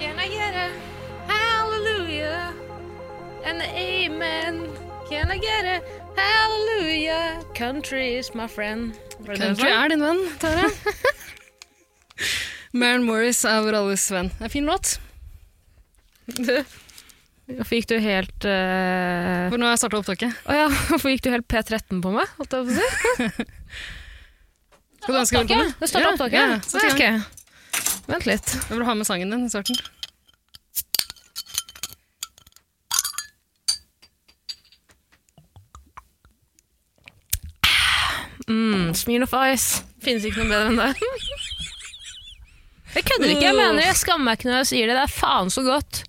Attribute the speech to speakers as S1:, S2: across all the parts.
S1: Can I get a hallelujah? An amen? Can I get a hallelujah? Country is my friend. Var det den
S2: Country
S1: sånn?
S2: er din venn, Tara. Maren Morris er vår alles venn. Det er en fin låt.
S3: Hvorfor gikk du helt eh,
S2: For nå har jeg starta opptaket.
S3: Å ja, hvorfor gikk du helt P13 på meg? Holdt jeg på å si.
S2: Skal du ønske velkommen?
S3: Det starta
S2: Ja,
S3: opptaket.
S2: ja,
S3: Ja,
S2: sett i gang.
S3: ok. Vent litt.
S2: Jeg vil ha med sangen din i starten.
S3: Mm, Smirnoff Ice. Finnes ikke noe bedre enn det. Jeg kødder ikke. Jeg mener det. Jeg skammer meg ikke når jeg sier det. Det er faen så godt.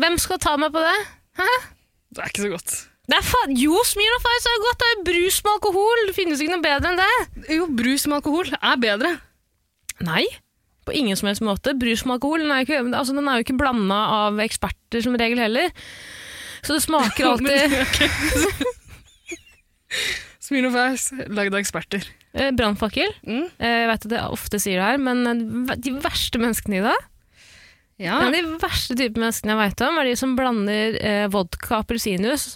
S3: Hvem skal ta meg på det?
S2: Det er ikke så godt.
S3: Det er faen, Jo, Smirnoff Ice er godt. Det er jo brus med alkohol. Det finnes ikke noe bedre enn det.
S2: Jo, brus med alkohol er bedre.
S3: Nei. På ingen som helst måte. Brus med alkohol den er, jo ikke, altså, den er jo ikke blanda av eksperter som regel heller. Så det smaker alltid
S2: Smirnoff Ice, lagd av eksperter.
S3: eh, brannfakkel.
S2: Mm.
S3: Eh, Jeg vet at jeg ofte sier det her, men eh, de verste menneskene i dag
S2: Ja.
S3: En av de verste typer menneskene jeg veit om, er de som blander eh, vodka og appelsinjuice.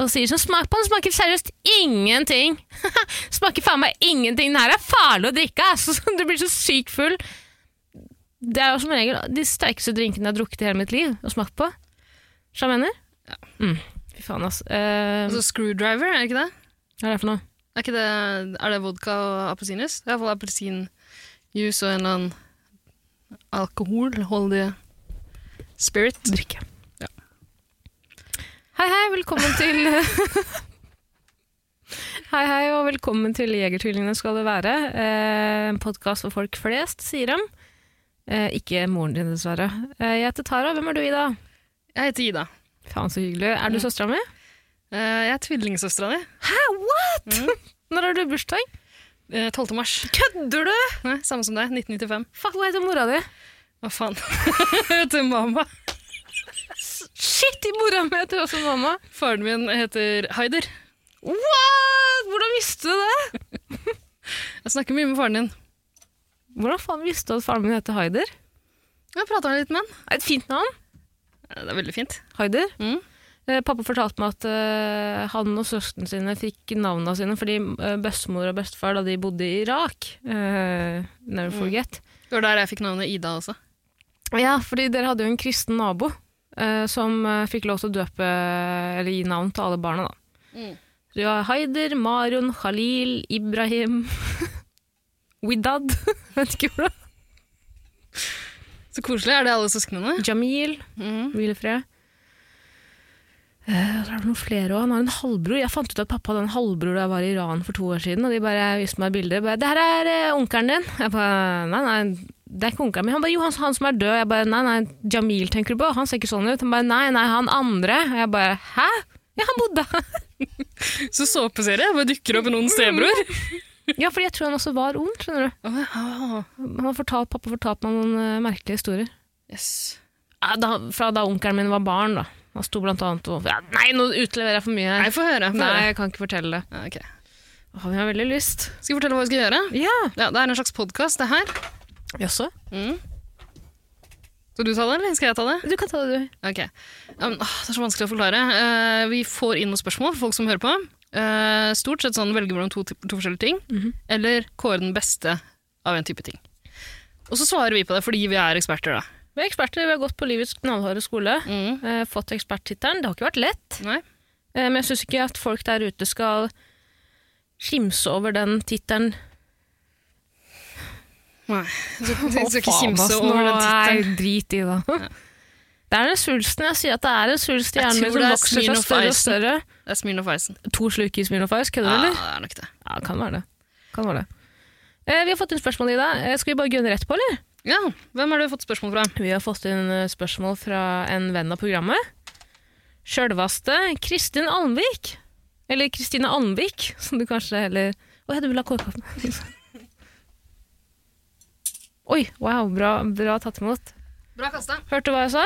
S3: Og sier sånn Smak på den, smaker seriøst ingenting! smaker faen meg ingenting! Den her er farlig å drikke! ass!» Så du blir så sykt full. Det er jo som regel de sterkeste drinkene jeg har drukket i hele mitt liv og smakt på. Skjønner du hva jeg mener? Mm. Fy faen, ass. Eh,
S2: Altså screwdriver, er det ikke det?
S3: hva er det for noe?
S2: Er, ikke det, er det vodka og appelsinjuice? Det er iallfall appelsinjuice og en eller annen alkoholholdig spirit.
S3: Drikke. Hei, hei, velkommen til Hei, hei, og velkommen til Jegertvillingene skal det være. Eh, En podkast for folk flest, sier de. Eh, Ikke moren din, dessverre. Eh, Jeg heter Tara. Hvem er du, Ida?
S2: Jeg heter Ida.
S3: Faen, så hyggelig. Er du søstera mi?
S2: Eh, Jeg er tvillingsøstera di.
S3: Når har du bursdag?
S2: Eh, 12. mars.
S3: Kødder du?!
S2: Nei, samme som deg. 1995.
S3: Fuck, hva heter mora di?
S2: Hva faen? heter mamma.
S3: Shit, i mora mi heter også mamma!
S2: Faren min heter Haider.
S3: What?! Hvordan visste du det?
S2: Jeg snakker mye med faren din.
S3: Hvordan faen visste du at faren min heter Haider?
S2: Jeg prata litt med han.
S3: Er det Et fint navn.
S2: Eh, Det er veldig fint.
S3: Haider.
S2: Mm.
S3: Eh, Pappa fortalte meg at eh, han og søsknene sine fikk navnene sine fordi eh, bestemor og bestefar da de bodde i Irak. eh,
S2: Mm.
S3: never forget.
S2: Det var der jeg fikk navnet Ida også.
S3: Ja, fordi dere hadde jo en kristen nabo eh, som eh, fikk lov til å døpe eller gi navn til alle barna. da.
S2: Mm.
S3: Så de har Haider, Marun, Khalil, Ibrahim Widad Vet ikke hvordan.
S2: Så koselig. Er det alle søsknene?
S3: Jamil.
S2: Mm.
S3: Hvil i fred. Eh, så er det noen flere også. Han har en halvbror. Jeg fant ut at pappa hadde en halvbror da jeg var i Iran for to år siden, og de bare viste meg bilder. Bare, 'Det her er eh, onkelen din.' Jeg bare 'Nei, nei, det er ikke onkelen min.' Han bare 'Jo, han, han som er død.' Jeg bare 'Nei, nei, Jamil tenker du på? Han ser ikke sånn ut.' Han bare 'Nei, nei, han andre.' Og jeg bare 'Hæ?' Ja, han bodde her.
S2: Så såpeserie. Bare dukker opp noen stebror.
S3: Ja, fordi jeg tror han også var ung, skjønner du.
S2: Oh,
S3: Han har fortalt, pappa fortalte meg noen eh, merkelige historier.
S2: yes.
S3: Ja, Da, fra da onkelen min var barn, da. Han sto blant annet og ja, Nei, nå utleverer jeg for mye her.
S2: Nei, få høre. Få
S3: Nei,
S2: høre.
S3: jeg kan ikke fortelle det.
S2: Ja, ok.
S3: Åh, jeg har veldig lyst.
S2: Skal jeg fortelle hva vi skal gjøre?
S3: Ja.
S2: Ja, Det er en slags podkast, det her.
S3: Jaså?
S2: Skal du ta det, eller skal jeg ta det?
S3: Du kan ta det, du.
S2: Ok. Um, åh, det er så vanskelig å forklare. Eh, vi får inn noen spørsmål fra folk som hører på. Eh, stort sett sånn velge mellom to, to forskjellige ting, eller kåre den beste av en type ting. Og så svarer vi på det fordi vi er eksperter, da. Mm.
S3: Vi er eksperter. Vi har gått på livets knallharde skole. Eh, fått eksperttittelen. Det har ikke vært lett.
S2: Nei?
S3: Eh, men jeg syns ikke at folk der ute skal skimse over den tittelen.
S2: Nei. Så,
S3: Å,
S2: jeg skal ikke
S3: faen,
S2: kimse
S3: ass,
S2: over
S3: nå
S2: den tittelen.
S3: er- Drit i, da. Det er den svulsten jeg sier at det er en svulst i
S2: Jeg
S3: hjernen min
S2: tror
S3: som
S2: det er
S3: vokser seg
S2: Smirnoff
S3: større og
S2: Icen.
S3: større.
S2: Det er Smirnoff Icen.
S3: To sluk i Smirnoff Ice, kødder du,
S2: Ja,
S3: eller?
S2: det er nok det.
S3: Ja, kan være det. Kan være det. Eh, vi har fått inn spørsmål, Ida. Eh, skal vi bare gunne rett på, eller?
S2: Ja, Hvem har du fått spørsmål fra?
S3: Vi har fått inn eh, spørsmål fra en venn av programmet. sjølvaste Kristin Almvik. Eller Kristine Almvik, som du kanskje heller Å ja, du vil ha kårkaffen? Oi, wow, bra, bra tatt imot.
S2: Bra kasta.
S3: Hørte du hva jeg sa?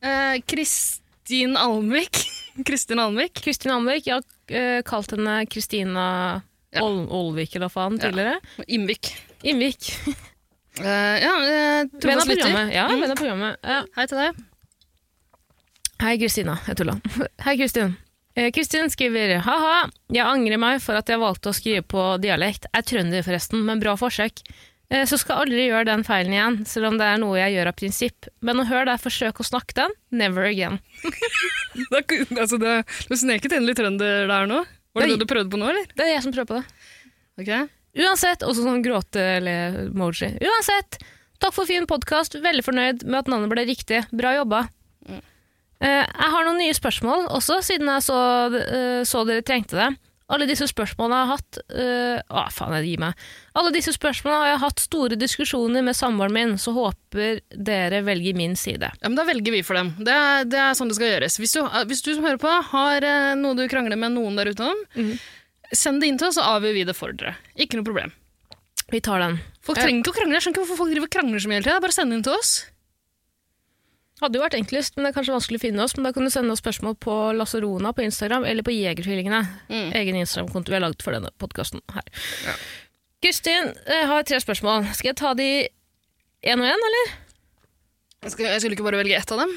S2: Eh, Kristin Almvik. Kristin Almvik.
S3: Kristin Almvik. Jeg har eh, kalt henne Kristina
S2: Ja.
S3: Ol Olvik, eller hva faen, tidligere.
S2: Innvik.
S3: Innvik.
S2: Eh, ja, eh,
S3: Venn
S2: Trofast
S3: av
S2: lytter.
S3: programmet. Ja, venn av programmet. Ja.
S2: Hei til deg.
S3: Hei, Kristina. Jeg tulla. Hei, Kristin. Eh, Kristin skriver «Haha, jeg angrer meg for at jeg valgte å skrive på dialekt. Jeg er trønder forresten, men bra forsøk. Eh, Så skal jeg aldri gjøre den feilen igjen, selv om det er noe jeg gjør av prinsipp. Men å høre deg forsøke å snakke den, never again.
S2: Det er ikke- altså, det, du sneket inn litt trønder der nå. Var det
S3: Nei.
S2: det du prøvde på nå, eller?
S3: Det er jeg som prøver på det.
S2: Ok.
S3: Uansett, også sånn gråte eller emoji. Uansett, takk for fin podkast. Veldig fornøyd med at navnet ble riktig. Bra jobba. Eh, jeg har noen nye spørsmål også, siden jeg så, eh, så dere trengte det. Alle disse spørsmålene jeg har hatt eh, Å, faen, jeg gir meg. Alle disse spørsmålene har jeg hatt store diskusjoner med samboeren min, så håper dere velger min side.
S2: Ja, men Da velger vi for dem. Det er, det er sånn det skal gjøres. Hvis du, hvis du som hører på har eh, noe du krangler med noen der ute om, send det inn til oss, så avgjør vi det for dere. Ikke noe problem.
S3: Vi tar den.
S2: Folk
S3: Ja.
S2: trenger ikke å krangle. Jeg skjønner ikke hvorfor folk driver og krangler så mye hele tida. Bare send det inn til oss.
S3: Hadde jo vært enklest, men det er kanskje vanskelig å finne oss. Men da kan du sende oss spørsmål på Lasserona på Instagram, eller på Jegertvillingene.
S2: Mm.
S3: Egen Instagram-konto vi har lagd for denne podkasten her. Kristin jeg har tre spørsmål. Skal jeg ta de én og én, eller?
S2: Jeg skulle, jeg skulle ikke bare velge ett av dem.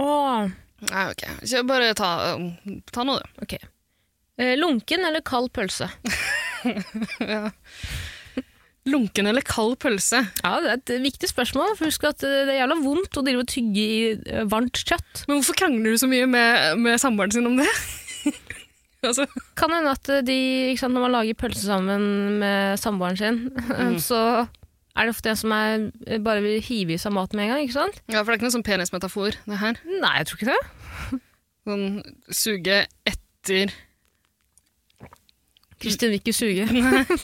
S3: Åh.
S2: Nei, ok. Så bare ta, eh, ta noe, du.
S3: Ok. Eh, Lunken eller kald pølse?
S2: Lunken eller kald pølse?
S3: Ja, Det er et viktig spørsmål. for Husk at eh, det er jævla vondt å drive og tygge i eh, varmt kjøtt.
S2: Men hvorfor krangler du så mye med, med samboeren sin om det? altså,
S3: Kan hende at eh, de, ikke sant, når man lager pølse sammen med samboeren sin, så er det ofte en som er, eh, bare vil hive i seg mat med en gang. ikke sant?
S2: ja, for det er ikke noen sånn penismetafor, det her.
S3: Nei, jeg tror ikke det.
S2: Sånn suge etter
S3: Kristin vil ikke suge.
S2: mm,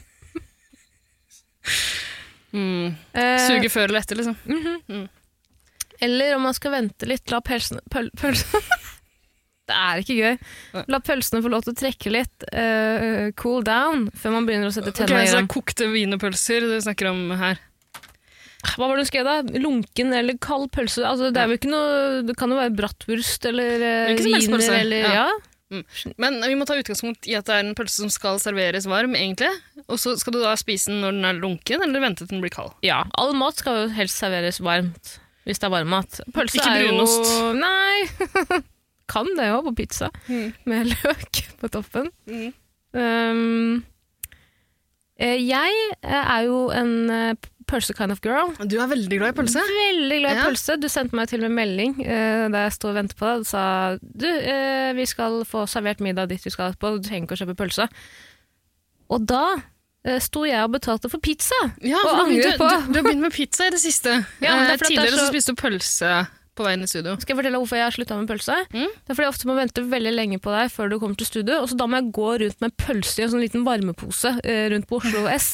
S3: Eh,
S2: Suge før eller etter, liksom.
S3: Eller om man skal vente litt, la pølsene pøl, pølse- Det er ikke gøy.
S2: Nei.
S3: La pølsene få lov til å trekke litt, eh, cool down, før man begynner å sette
S2: Ok,
S3: tennene i
S2: så det
S3: dem.
S2: er kokte wienerpølser du snakker om her.
S3: Hva var det du skrev da? Lunken eller kald pølse? Altså, det, er jo ikke noe, det kan jo være bratwurst eller eh,
S2: Det er ikke som helst
S3: wiener
S2: pølse.
S3: eller
S2: Ja.
S3: ja.
S2: Men vi må ta utgangspunkt i at det er en pølse som skal serveres varm, egentlig. Og så skal du da spise den når den er lunken, eller vente til den blir kald.
S3: ja. All mat skal jo helst serveres varmt, hvis det er varm mat. Pølse
S2: Ikke
S3: er jo
S2: brunost.
S3: Nei! kan det jo på pizza,
S2: Mm.
S3: med løk på toppen.
S2: Mm.
S3: Um, eh, jeg eh, er jo en eh, pølse kind of girl.
S2: Du er veldig glad i pølse.
S3: Veldig glad i
S2: Ja.
S3: pølse. Du sendte meg til og med melding eh, da jeg sto og ventet på deg. Du sa du, eh, vi skal få servert middag dit vi skal etterpå, du trenger ikke å kjøpe pølse. Og da eh, sto jeg og betalte for pizza.
S2: Ja,
S3: Og
S2: for du,
S3: angrer
S2: du,
S3: på.
S2: du, du har begynt med pizza i det siste.
S3: Ja, men det er fordi at det
S2: Eh,
S3: er
S2: Tidligere så...
S3: så-
S2: spiste du pølse på veien i studio.
S3: Skal jeg fortelle hvorfor jeg har slutta med pølse?
S2: Mm.
S3: Det er fordi jeg ofte må vente veldig lenge på deg før du kommer til studio, og så da må jeg gå rundt med pølse i en sånn liten varmepose eh, rundt på Oslo S.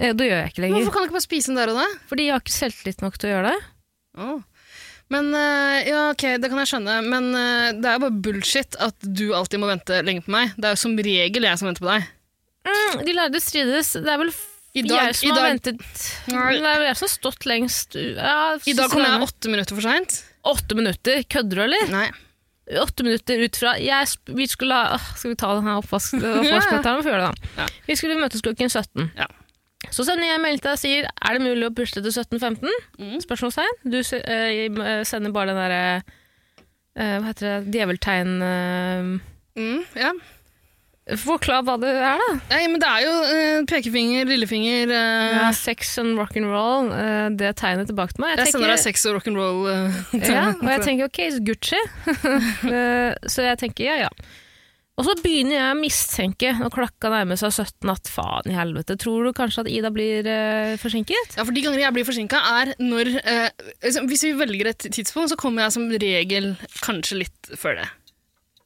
S3: Eh, det gjør jeg ikke lenger.
S2: Hvorfor kan du ikke bare spise den der og da?
S3: Fordi jeg har ikke selvtillit nok til å gjøre det.
S2: Åh. Men eh, ja, ok, det kan jeg skjønne. Men eh, det er jo bare bullshit at du alltid må vente lenge på meg. Det er jo som regel jeg som venter på deg.
S3: Mm, de lærde strides. Det er vel
S2: I
S3: I
S2: dag-
S3: jeg som
S2: i
S3: har
S2: dag-
S3: ventet
S2: Nei.
S3: Det er vel jeg som har stått lengst ja,
S2: I dag kom jeg åtte minutter for seint.
S3: Åtte minutter. Kødder du, eller?
S2: Nei.
S3: Åtte minutter ut fra jeg, sp- vi skulle, ha- Åh, Skal vi ta den her oppvasken? oppvaskmøtet? Vi får gjøre det, da.
S2: Ja.
S3: Vi skulle møtes klokken 17.
S2: Ja.
S3: Så sender jeg en melding til deg og sier er det mulig å pushe til 17.15.
S2: Mm.
S3: Spørsmålstegn. Du se- eh, eh, sender bare den derre eh, Hva heter det? Djeveltegn eh,
S2: Mm, ja.
S3: Forklar hva det er, da.
S2: Nei, men det er jo eh, pekefinger, lillefinger eh,
S3: Ja. Sex and rock'n'roll. eh, det sånn tegnet tilbake til meg.
S2: Jeg sender
S3: tenker-
S2: deg sex og rock'n'roll. eh,
S3: Ja, og jeg tenker ok, it's Gucci. Eh, så jeg tenker ja, ja. Og så begynner jeg å mistenke, når klokka nærmer seg 17, at faen i helvete, tror du kanskje at Ida blir eh, forsinket?
S2: ja, for De ganger jeg blir forsinka, er når eh, liksom, Hvis vi velger et tidspunkt, så kommer jeg som regel kanskje litt før det.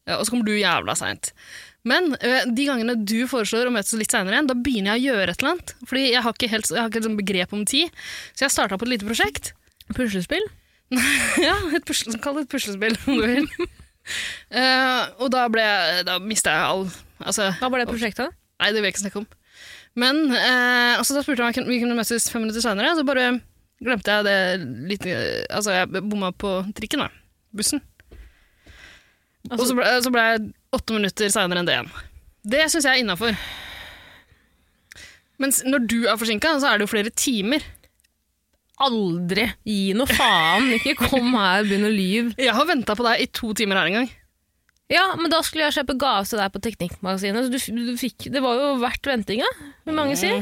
S2: Ja, og så kommer du jævla seint. Men eh, de gangene du foreslår å møtes litt seinere igjen, da begynner jeg å gjøre et eller annet. Fordi jeg har ikke helt, jeg har ikke et sånt begrep om tid. Så jeg starta på et lite prosjekt.
S3: Puslespill?
S2: ja, et pusle, Kall det et puslespill, om du vil. Eh, og da ble jeg Da mista jeg all Altså,
S3: Hva var det prosjektet?
S2: nei, det vil jeg ikke snakke om. Men eh, altså, da spurte han om vi kunne møtes fem minutter seinere, så bare glemte jeg det litt Altså, jeg bomma på trikken, da. Bussen. og så ble, så ble jeg åtte minutter seinere enn det igjen. Det syns jeg er innafor. Mens når du er forsinka, så er det jo flere timer.
S3: Aldri! Gi noe faen! Ikke kom her og begynn å lyve.
S2: Jeg har venta på deg i to timer her en gang.
S3: Ja, men da skulle jeg kjøpe gave til deg på Teknikkmagasinet. Så du, f- du fikk, det var jo verdt ventinga, vil mange si.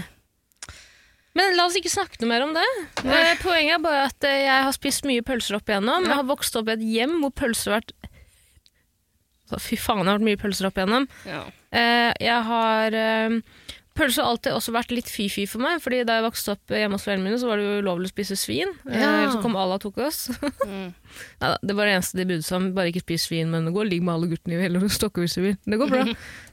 S3: Men la oss ikke snakke noe mer om det. Eh, Poenget er bare at eh, jeg har spist mye pølser opp igjennom. Jeg har vokst opp i et hjem hvor pølser har vært Så Fy faen, det har vært mye pølser opp igjennom.
S2: Ja.
S3: Eh, jeg har eh, Pølse har alltid også vært litt fy-fy for meg, fordi da jeg vokste opp hjemme hos foreldrene mine, så var det jo ulovlig å spise svin.
S2: Ja.
S3: Eh, så kom Allah og tok oss. Neida, det var det eneste de budde seg om. Bare ikke spis svin, men gå og ligg med alle guttene i hele Stokke hvis du vil. Det går bra.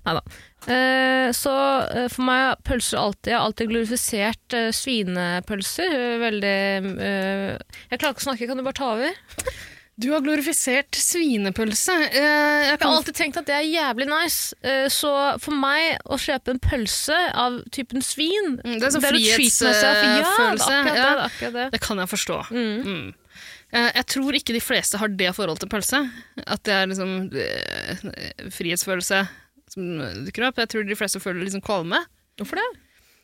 S3: Neida. Eh, så eh, for meg har pølser alltid Jeg har alltid glorifisert eh, svinepølser. eh, Veldig eh, Jeg klarer ikke å snakke, kan du bare ta over?
S2: Du har glorifisert svinepølse. Eh, jeg
S3: Jeg har
S2: kan
S3: alltid tenkt at det er jævlig nice. Eh, Så for meg å kjøpe en pølse av typen svin
S2: Mm, det er sånn
S3: å treat
S2: frihetsfølelse.
S3: myself. Ja, det er akkurat det.
S2: ja.
S3: det, er akkurat det.
S2: Det kan jeg forstå. Mm. Eh, Jeg tror ikke de fleste har det forholdet til pølse. At det er liksom eh, frihetsfølelse som dukker opp. Jeg tror de fleste føler liksom kvalme.
S3: Hvorfor det?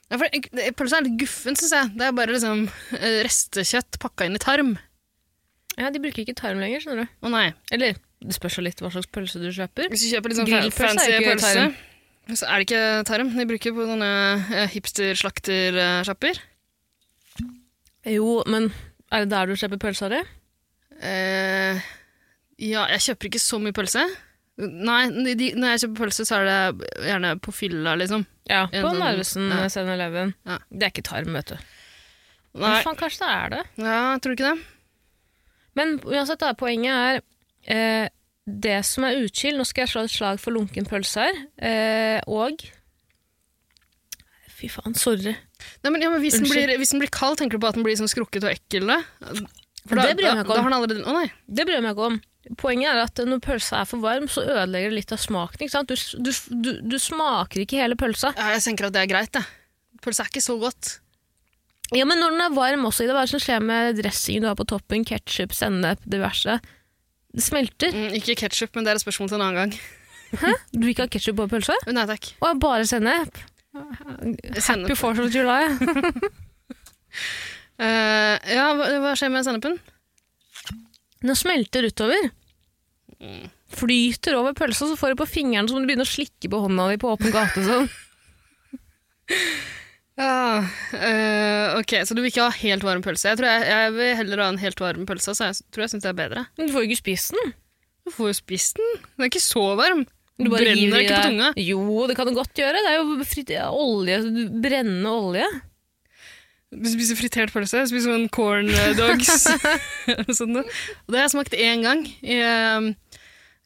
S2: Ja, for eh, pølse er litt guffen, syns jeg. Det er bare liksom eh, restekjøtt pakka inn i tarm.
S3: Ja, De bruker ikke tarm lenger, skjønner du.
S2: Å nei.
S3: Eller det spørs jo litt hva slags pølse du kjøper.
S2: Hvis du kjøper litt sånn fa-
S3: Grillpølse er
S2: fancy
S3: ikke
S2: pølse,
S3: tarm.
S2: så er det ikke tarm. De bruker på sånne eh, hipster-slakter-sjapper.
S3: Jo, men er det der du kjøper pølsa di?
S2: Eh, ja, jeg kjøper ikke så mye pølse. Nei, de, de, når jeg kjøper pølse, så er det gjerne på fylla, liksom.
S3: Ja,
S2: En
S3: på
S2: sånn-
S3: Narvesen
S2: ja.
S3: 7-Eleven.
S2: Ja.
S3: Det er ikke tarm, vet du.
S2: Nei,
S3: Men faen, kanskje det er det.
S2: ja, tror du ikke det?
S3: Men uansett, da, poenget er eh, det som er utskill Nå skal jeg slå et slag for lunken pølse her. Eh, og Fy faen, sorry.
S2: Nei, men, ja, men hvis, den
S3: Unnskyld.
S2: blir, hvis den blir kald, tenker du på at den blir sånn skrukket og ekkel? Da? For
S3: Det bryr jeg meg ikke om.
S2: Da, da har den allerede... Å nei.
S3: Det bryr jeg meg ikke om. Poenget er at når pølsa er for varm, så ødelegger det litt av smaken. ikke sant? Du, du, du, du smaker ikke hele pølsa.
S2: Ja, jeg tenker at det er greit, jeg. Pølse er ikke så godt.
S3: Ja, Men når den er varm også, Ida, hva er det som skjer med dressingen du har på toppen? Ketsjup, sennep, diverse. Det smelter.
S2: Mm, ikke ketchup, men det er et spørsmål til en annen gang.
S3: Du vil ikke ha ketsjup på pølsa?
S2: Nei takk.
S3: Og bare sennep?
S2: Sennep.
S3: Happy Fourth of July.
S2: Eh, ja, hva, hva skjer med sennepen?
S3: Den smelter utover. Mm. Flyter over pølsa, så får du på fingeren som om du begynner å slikke på hånda di på åpen gate. Sånn.
S2: Ja, eh, ok, så du vil ikke ha helt varm pølse. Jeg tror jeg, jeg vil heller ha en helt varm pølse, så jeg s- tror jeg synes det er bedre.
S3: Men du får jo ikke spist den.
S2: Du får jo spist den. Den er ikke så varm.
S3: Du bare
S2: Brenner
S3: hiver i
S2: ikke på
S3: deg-
S2: tunga?
S3: Jo, det kan du godt gjøre. Det er jo fritt, ja, olje, brennende olje.
S2: Du spiser fritert pølse, jeg spiser sånn corn dogs. og sånn noe. Og det har jeg smakt én gang i, um,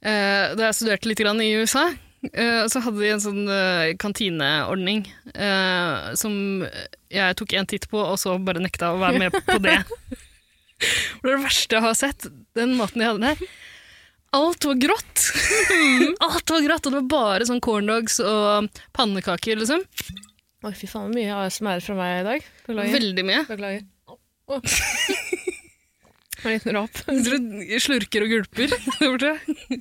S2: eh, da jeg studerte litt grann i USA. eh, og så hadde de en sånn eh, kantineordning eh, som jeg tok en titt på, og så bare nekta å være med på det. For det er det verste jeg har sett, den maten de hadde der. Alt var grått! Alt var grått, og det var bare sånn corn dogs og pannekaker, liksom.
S3: Oi, fy faen, hvor mye ASMR fra meg i dag. Beklager.
S2: Veldig mye.
S3: Beklager. Å. En liten rap.
S2: Dere slurker og gulper der borte.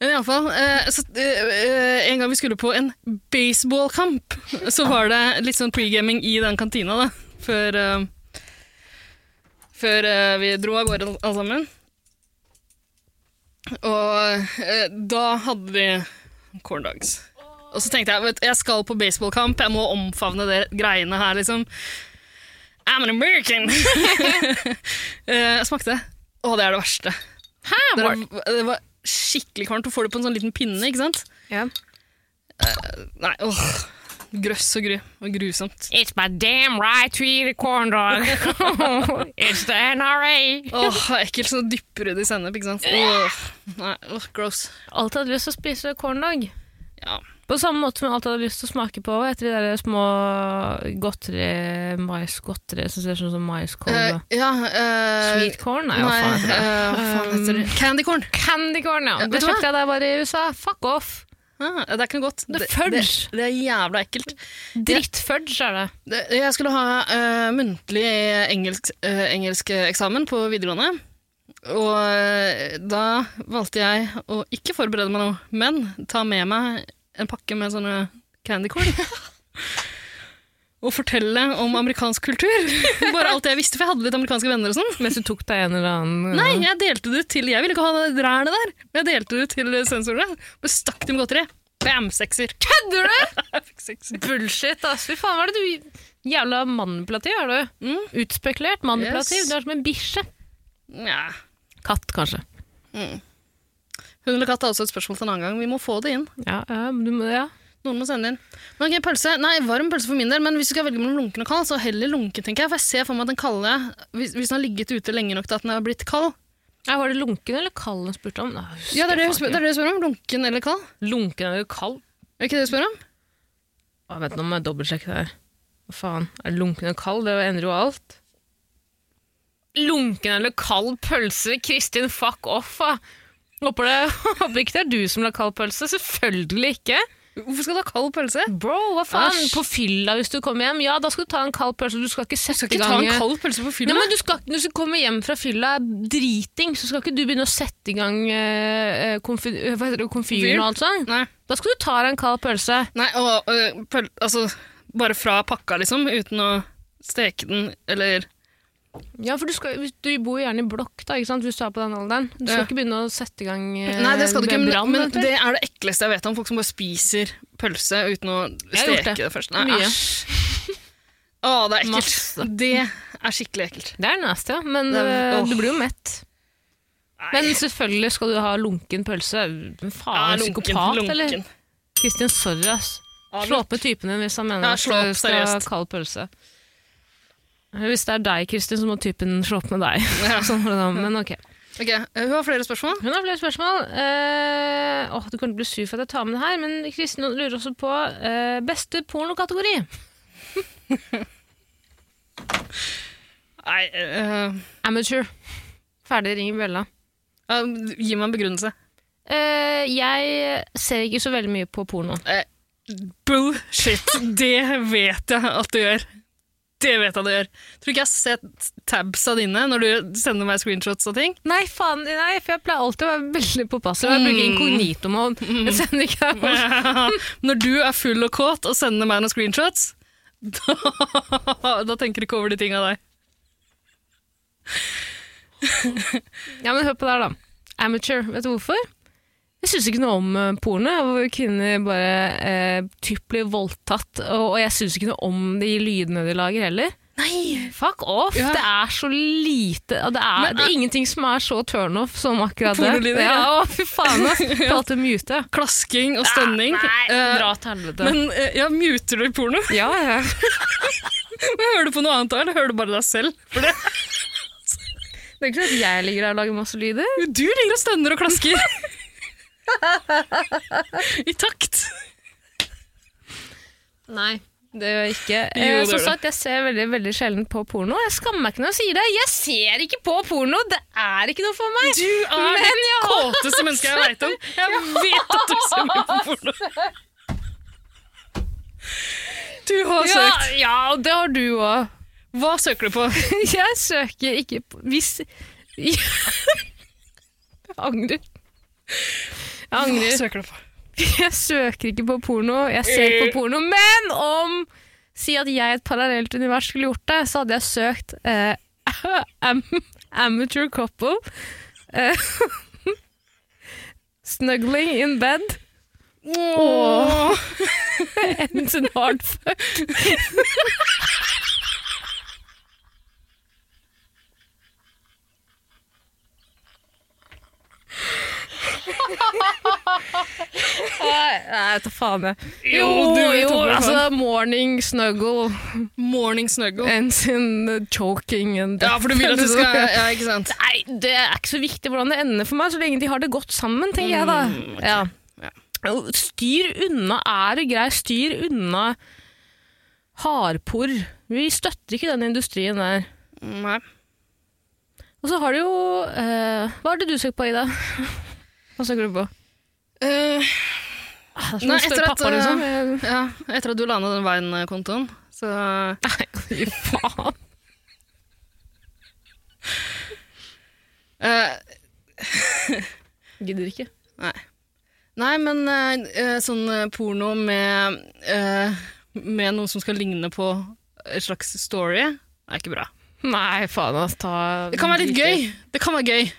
S2: Men iallfall eh, så, eh, En gang vi skulle på en baseballkamp, så var det litt sånn pregaming i den kantina, da. Før, eh, før eh, vi dro av gårde alle sammen. Og eh, da hadde de corn dogs. Og så tenkte jeg vet, du, jeg skal på baseballkamp, jeg må omfavne det greiene her, liksom. I'm an American! Eh, Jeg smakte det. Å, det er det verste. Det,
S3: Ah, Var-
S2: er, det var skikkelig kvalmt. Du får det på en sånn liten pinne, ikke sant?
S3: Ja.
S2: Nei, åh. Grøss og gru. Og grusomt.
S3: It's my damn right to eat a corn dog. It's the NRA.
S2: Åh, det er ekkelt. Sånn dypper du det i sennep, ikke sant? Åh, nei, åh, gross.
S3: Alltid hatt lyst til å spise corn dog.
S2: Ja.
S3: På samme måte som jeg alltid hadde lyst til å smake på etter de der små godteri, maisgodteri som ser sånn som maiskorn
S2: Eh,
S3: og
S2: ja eh,
S3: Sweet corn? Nei,
S2: Nei,
S3: hva faen heter det? Um,
S2: eh, hva faen heter det? Candycorn.
S3: Candycorn, ja.
S2: Ja,
S3: Det
S2: vet du hva?
S3: kjøpte jeg da jeg var i USA. Fuck off!
S2: Ah, det er ikke noe godt.
S3: Det er
S2: det,
S3: fudge.
S2: det er jævla ekkelt.
S3: Drittfudge er det.
S2: Det, jeg skulle ha eh, muntlig engelsk, eh, engelskeksamen på videregående. Og eh, da valgte jeg å ikke forberede meg noe, men ta med meg en pakke med sånne candy corn. og fortelle om amerikansk kultur. Bare alt det jeg visste, for jeg hadde litt amerikanske venner og sånn.
S3: Mens du tok deg en eller annen
S2: Nei, jeg delte det ut til Jeg ville ikke ha det rælet der, men jeg delte det ut til sensorene. Bare stakk dem godteri. Bam, sekser.
S3: Kødder du?!
S2: Jeg fikk sekser.
S3: Bullshit, ass. Fy faen, hva er det du Jævla manipulativ er du.
S2: Mm.
S3: Utspekulert, manipulativ.
S2: Yes.
S3: Du er som en bikkje.
S2: Nja.
S3: Katt, kanskje.
S2: Hund eller katt er også et spørsmål til en annen gang. Vi må få det inn.
S3: Ja, ja, men du må, ja.
S2: Noen må sende inn. Men ok, pølse. Nei, varm pølse for min del, men hvis du skal velge mellom lunken og kald, så heller lunken, tenker jeg. For jeg ser for meg at den kalde, hvis, hvis den har ligget ute lenge nok til at den har blitt kald.
S3: Ja, Var det lunken eller kald hun spurte om? Nei, jeg husker
S2: Ja, det er
S3: faen
S2: det, jeg spør,
S3: ikke.
S2: det er det jeg spør om. Lunken eller kald.
S3: Lunken eller kald?
S2: Er det ikke det du spør om?
S3: Å, vent, nå må jeg dobbeltsjekke det her. Hva faen? Er lunken eller kald? Det endrer jo alt. Lunken eller kald pølse? Kristin, fuck off, da! Håper, det, håper ikke det er du som lager kald pølse. Selvfølgelig ikke.
S2: Hvorfor skal du ha kald pølse?
S3: Bro, hva faen?
S2: Æsj.
S3: På fylla hvis du kommer hjem, ja, da skal du ta en kald pølse. Du skal ikke
S2: Du
S3: sette
S2: skal
S3: i
S2: ikke ta
S3: gang
S2: en kald pølse på
S3: Ja,
S2: fylla.
S3: men du skal, Når du kommer hjem fra fylla driting, så skal ikke du begynne å sette i gang eh, eh, konfy, eh, hva heter det,
S2: Fyr?
S3: komfyren og alt sånt.
S2: Nei.
S3: Da skal du ta deg en kald pølse.
S2: Nei, og øh, pøl, altså, bare fra pakka, liksom, uten å steke den, eller
S3: Ja, for du, skal, hvis- du bor jo gjerne i blokk da, ikke sant? hvis du er på den alderen. Du skal
S2: Ja.
S3: ikke begynne å sette i gang eh,
S2: Nei, det skal du ikke, men,
S3: brann.
S2: men
S3: vet du.
S2: det er det ekleste jeg vet om. Folk som bare spiser pølse uten å
S3: Jeg har gjort
S2: steke
S3: det.
S2: det først. Nei,
S3: Mye.
S2: æsj. Å, det er ekkelt.
S3: Masse.
S2: Det er skikkelig ekkelt.
S3: det er nasty, ja, men
S2: Det er-
S3: eh,
S2: åh.
S3: du blir jo mett. Men selvfølgelig skal du ha lunken pølse. Men
S2: Ja,
S3: faen, er du
S2: lunken,
S3: psykopat, eller?
S2: lunken.
S3: Kristin, sorry, ass.
S2: Ja,
S3: Slå opp med typen din hvis han mener
S2: Ja,
S3: at
S2: slå opp,
S3: du skal ha
S2: seriøst.
S3: kald pølse. Hvis det er deg, Kristin, så må typen slå opp med deg.
S2: Ja.
S3: sånn var det da, men ok.
S2: Ok, eh, Hun har flere spørsmål.
S3: Hun har flere spørsmål. Eh, åh, du kan bli sur for at jeg tar med det her, men Kristin lurer også på eh, beste pornokategori.
S2: Nei, eh,
S3: Amateur. Ferdig, ring bjella.
S2: ja, eh, Gi meg en begrunnelse.
S3: Eh, jeg ser ikke så veldig mye på porno.
S2: Bullshit! Det vet jeg at du gjør. Det vet jeg du gjør. Tror ikke jeg har sett tabsa dine når du sender meg screenshots og ting.
S3: Nei, faen, nei, for jeg pleier alltid å være veldig påpasselig. Jeg bruker
S2: Mm.
S3: inkognito-mode. Jeg sender ikke deg
S2: Når du er full og kåt og sender meg noen screenshots, da, da tenker du ikke over de tinga der.
S3: Ja, men hør på det her, da. Amateur. Vet du hvorfor? Jeg syns ikke noe om eh, porno, hvor kvinner bare eh, typ blir voldtatt. Og, og jeg syns ikke noe om de lydene de lager heller. Nei! Fuck off!
S2: Ja.
S3: Det er så lite og det, er,
S2: Men,
S3: det er ingenting som er så turnoff som akkurat eh, det.
S2: Pornolyder,
S3: Ja,
S2: ja.
S3: å, fy faen, ass! Prate mute.
S2: Klasking og stønning. eh,
S3: Dra til helvete.
S2: men eh, ja, muter du porno?
S3: Ja, ja.
S2: Men Hører du på noe annet da, eller hører du bare deg selv? For det,
S3: Det er ikke sånn at jeg ligger der og lager masse lyder.
S2: du ligger og stønner og klasker. I takt.
S3: Nei. Det gjør jeg ikke.
S2: Jo,
S3: Eh,
S2: det
S3: som
S2: gjør
S3: sagt, jeg ser veldig veldig sjelden på porno. Jeg skammer meg ikke når jeg sier det. Jeg ser ikke på porno! Det er ikke noe for meg!
S2: Du er
S3: Men
S2: det
S3: jeg har-
S2: kåteste mennesket jeg veit om. Jeg vet at du ser mye på porno. Du har
S3: Ja,
S2: søkt.
S3: ja, og det har du òg.
S2: Hva søker du på?
S3: Jeg søker ikke på Hvis Jeg angrer. Jeg
S2: Hva
S3: angrer.
S2: søker du på?
S3: Jeg søker ikke på porno. Jeg ser på porno. Men om Si at jeg i et parallelt univers skulle gjort det, så hadde jeg søkt eh, am amateur couple. Eh, snuggling in bed. Åh. Ends in hard fuck. Nei, jeg tar faen jeg.
S2: Jo, du vet
S3: jo,
S2: hva det er.
S3: altså morning snuggle
S2: Morning snuggle.
S3: ends in choking and
S2: Ja, for du vil at du skal Ja, ikke sant?
S3: Nei, det er ikke så viktig hvordan det ender for meg, så lenge de har det godt sammen, tenker jeg da. Mm, Ja. Styr unna er og greier. Styr unna hardporr. Vi støtter ikke den industrien der.
S2: Mm, Nei.
S3: Og så har du jo eh, Hva er det du søker på, Ida? Hva søker du på? Ah, det er som
S2: Nei,
S3: å spørre
S2: etter at,
S3: pappa, liksom.
S2: Eh, ja, etter at du la ned den Vine-kontoen, så
S3: liksom. Fy faen.
S2: eh,
S3: Gidder ikke.
S2: Nei. Nei, men eh, eh, sånn eh, porno med, eh, med noe som skal ligne på en slags story, er ikke bra.
S3: Nei, faen, ass. Ta
S2: Det kan være litt gøy. Det kan være gøy.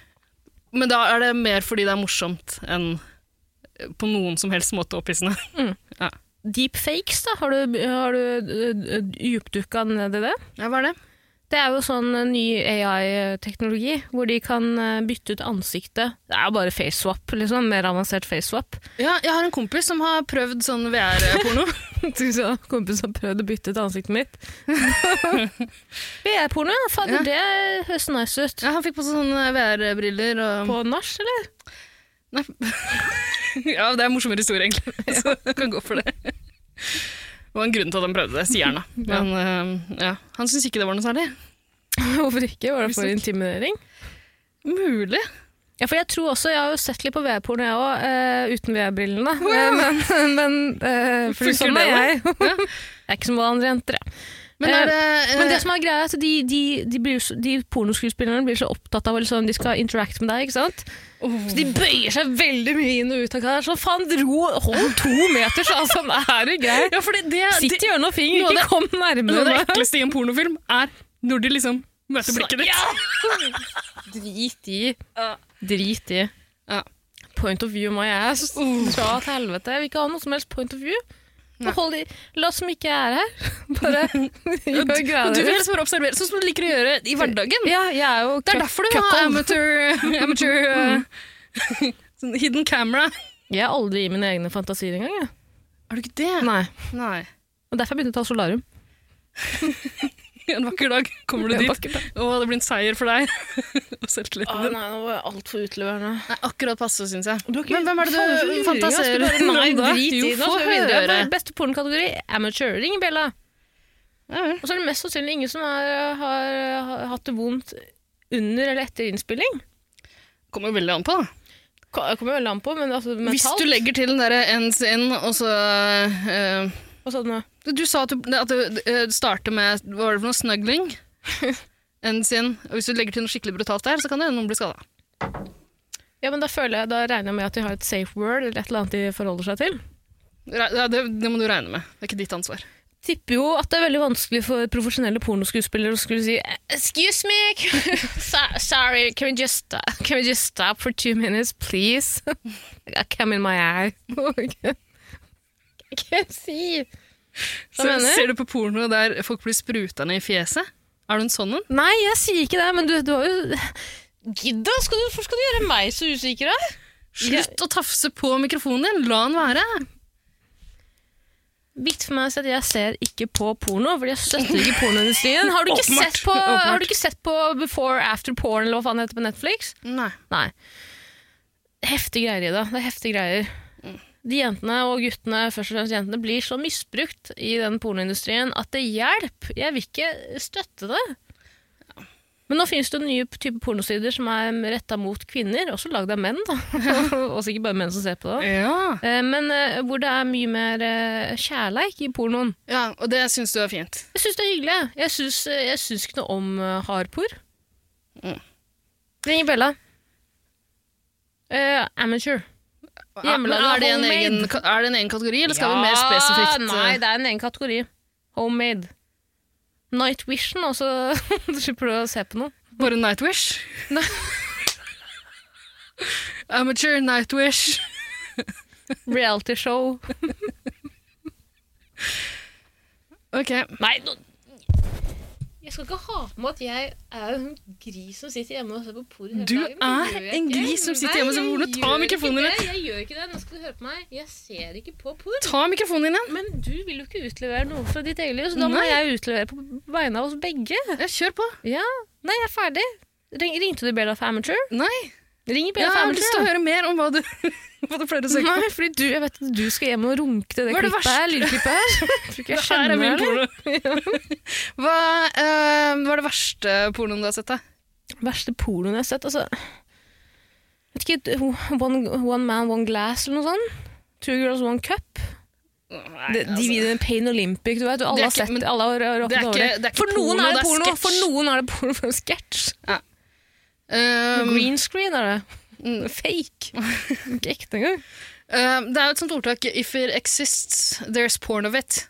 S2: Men da er det mer fordi det er morsomt enn eh, på noen som helst måte opphissende.
S3: Deepfakes, da. Har du, har du eh, dypdukka ned i det?
S2: Ja, hva er det?
S3: Det er jo sånn eh, ny AI-teknologi, hvor de kan eh, bytte ut ansiktet. Det er jo bare face-swap, liksom. Mer avansert face-swap.
S2: Ja, jeg har en kompis som har prøvd sånn VR-porno.
S3: Kompisen har prøvd å bytte ut ansiktet mitt. VR-porno, ja. Fader,
S2: Ja.
S3: det høres nice ut.
S2: ja, han fikk på seg sånne VR-briller og
S3: På nach, eller?
S2: Nei. ja, det er en morsommere historie, egentlig. Så du kan gå for det. Det var en grunn til at han prøvde det, sier han da. Men eh, ja, han syntes ikke det var noe særlig.
S3: Hvorfor ikke? Var det for intimidering?
S2: Mulig.
S3: Ja, for jeg tror også, jeg har jo sett litt på VR-porno jeg òg, eh, uten VR-brillene. Eh, men men eh, fordi
S2: Funker
S3: sånn
S2: det,
S3: er jeg. jeg er ikke som alle andre jenter, jeg.
S2: Men er det, eh,
S3: Men det som er greia er at de, de, de, blir, jo så- de pornoskuespillerne blir så opptatt av liksom, de skal interacte med deg, ikke sant?
S2: Åh.
S3: Så de bøyer seg veldig mye inn og ut av hverandre. Sånn, faen, ro, hold to meter, så altså, er du grei?
S2: ja, fordi det,
S3: Sitt
S2: det,
S3: i hjørnet og
S2: Noe
S3: finger,
S2: av det-
S3: ikke kom
S2: noe
S3: nærmere
S2: av det
S3: meg.
S2: ekleste i en pornofilm er når de liksom møter blikket ditt.
S3: Drit i. Drit i.
S2: Ja.
S3: Point of view my ass. Dra til helvete. Jeg vil ikke ha noe som helst point of view.
S2: Nei.
S3: Hold i. La oss som ikke er her. Bare gjør
S2: Og
S3: greia
S2: du vil
S3: deres.
S2: helst bare observere, sånn som du liker å gjøre i hverdagen.
S3: Ja, jeg er jo
S2: Det er
S3: cuck-
S2: derfor du må ha
S3: cuckold.
S2: amateur, amateur eh, sånn hidden camera.
S3: Jeg er aldri i mine egne fantasier engang. Jeg.
S2: Er du ikke det?
S3: Nei.
S2: Nei.
S3: Og derfor jeg begynte å ta solarium.
S2: En vakker dag kommer du
S3: En
S2: dit,
S3: vakker
S2: og det blir en seier for deg. og selvtilliten din.
S3: nå var jeg altfor utleverende.
S2: Nei, akkurat passe, syns jeg.
S3: ikke-
S2: Men hvem er det
S3: Faen,
S2: du
S3: luring,
S2: fantaserer
S3: altså, bare- Nei,
S2: om da?
S3: drit i
S2: Jo,
S3: det.
S2: få
S3: altså,
S2: høre.
S3: videre. Beste pornokategori amateur. Ring Bella.
S2: Ja, vel.
S3: Og så er det mest sannsynlig ingen som er, har, har hatt det vondt under eller etter innspilling.
S2: Kommer jo veldig an på, da.
S3: Ko- Det kommer veldig an på, men altså
S2: Hvis
S3: mentalt
S2: du legger til den derre ends in, og så eh,
S3: og sånn, eh,
S2: Du sa at du, at du eh, starter med Hva var det for noe? Snuggling? Ends in. Og hvis du legger til noe skikkelig brutalt der, så kan det hende noen blir skada.
S3: Ja, men da, føler jeg, da regner jeg med at de har et safe word eller et eller annet de forholder seg til.
S2: Ja, det, det må du regne med. Det er ikke ditt ansvar.
S3: Tipper jo at det er veldig vanskelig for profesjonelle pornoskuespillere å skulle si Excuse me, can- so- sorry, can we just, sto- can we just stop for two minutes, please? I got cum in my eye. Hva kan jeg si?
S2: Så,
S3: mener du?
S2: ser du på porno der folk blir spruta ned i fjeset? Er du en sånn en?
S3: Nei, jeg sier ikke det, men du, du har jo Gidd, da! Skal du- Hvorfor skal du gjøre meg så usikker? da?
S2: Slutt å tafse på mikrofonen din! La den være!
S3: Viktig for meg å si at jeg ser ikke på porno, fordi jeg støtter ikke pornoindustrien. Har du ikke,
S2: Åpenbart,
S3: sett på,
S2: åpenbart.
S3: har du ikke sett på Before After Porn, eller hva faen det heter på Netflix?
S2: Nei.
S3: Nei. Heftige greier, Ida. Det er heftige greier. De jentene og guttene, først og fremst jentene, blir så misbrukt i den pornoindustrien at det hjelper. Jeg vil ikke støtte det. Men nå finnes det nye typer pornosider som er retta mot kvinner, også lagd av menn. da. også ikke bare menn som ser på det.
S2: Ja.
S3: Eh, Men eh, hvor det er mye mer eh, kjærleik i pornoen.
S2: ja, og det syns du er fint.
S3: Jeg syns det er hyggelig. jeg. Jeg syns, eh, jeg syns ikke noe om eh, hardpor. Ring Bella. Eh, amateur. Hjemmelaget
S2: er, det en
S3: homemade.
S2: egen, er det en egen kategori, eller skal vi mer spesifikt? eh,
S3: Nei, det er en egen kategori. Homemade. Night Vision, altså. Du slipper du å se på noe.
S2: Bare Nightwish? Amateur Nightwish.
S3: Reality show.
S2: Ok.
S3: Nei, nå Jeg skal ikke ha på meg at jeg er en gris som sitter hjemme og ser på porno hele
S2: Du
S3: dagen. men det
S2: er
S3: gjør jeg
S2: en
S3: ikke.
S2: gris som sitter
S3: Nei,
S2: hjemme og ser
S3: jeg
S2: på porno. Ta
S3: gjør ikke
S2: mikrofonen
S3: det. Jeg gjør ikke det. Nå skal du høre på meg. Jeg ser ikke på porno.
S2: Ta mikrofonen din igjen.
S3: Men du vil jo ikke utlevere noe fra ditt eget liv, så da må
S2: Nei.
S3: jeg utlevere på vegne av oss begge.
S2: Ja, kjør på.
S3: Ja. Nei, jeg er ferdig. Ring, ringte du Bella for amateur?
S2: Nei.
S3: Ring
S2: Jeg
S3: Bjørn
S2: har lyst til å
S3: Fabelsen.
S2: høre mer om hva du, hva du pleier å søke på.
S3: Nei, fordi du, jeg vet at du skal hjem og runke til det
S2: Hva er det
S3: klippet
S2: verste?
S3: her, lydklippet her. Tror ikke jeg
S2: Det her er
S3: skjønner
S2: mye
S3: det.
S2: porno. Hva, eh, hva er det verste pornoen du har sett? da?
S3: Verste pornoen jeg har sett, altså Vet ikke, one, one man, one glass eller noe sånt? Two girls, one cup?
S2: Nei,
S3: Det- De
S2: altså.
S3: videoene Pain Olympic, du vet. Alle har
S2: er ikke-
S3: sett
S2: men
S3: det. Alle har
S2: det er
S3: råket over
S2: ikke- det er
S3: det.
S2: ikke
S3: For noen er
S2: porno, det
S3: det
S2: er
S3: porno,
S2: sketsj.
S3: for noen er det porno for en sketsj.
S2: Um,
S3: Green screen er det.
S2: mm,
S3: Fake. Ikke ekte engang.
S2: um, det er jo et sånt ordtak 'if it exists, there's porn of it'.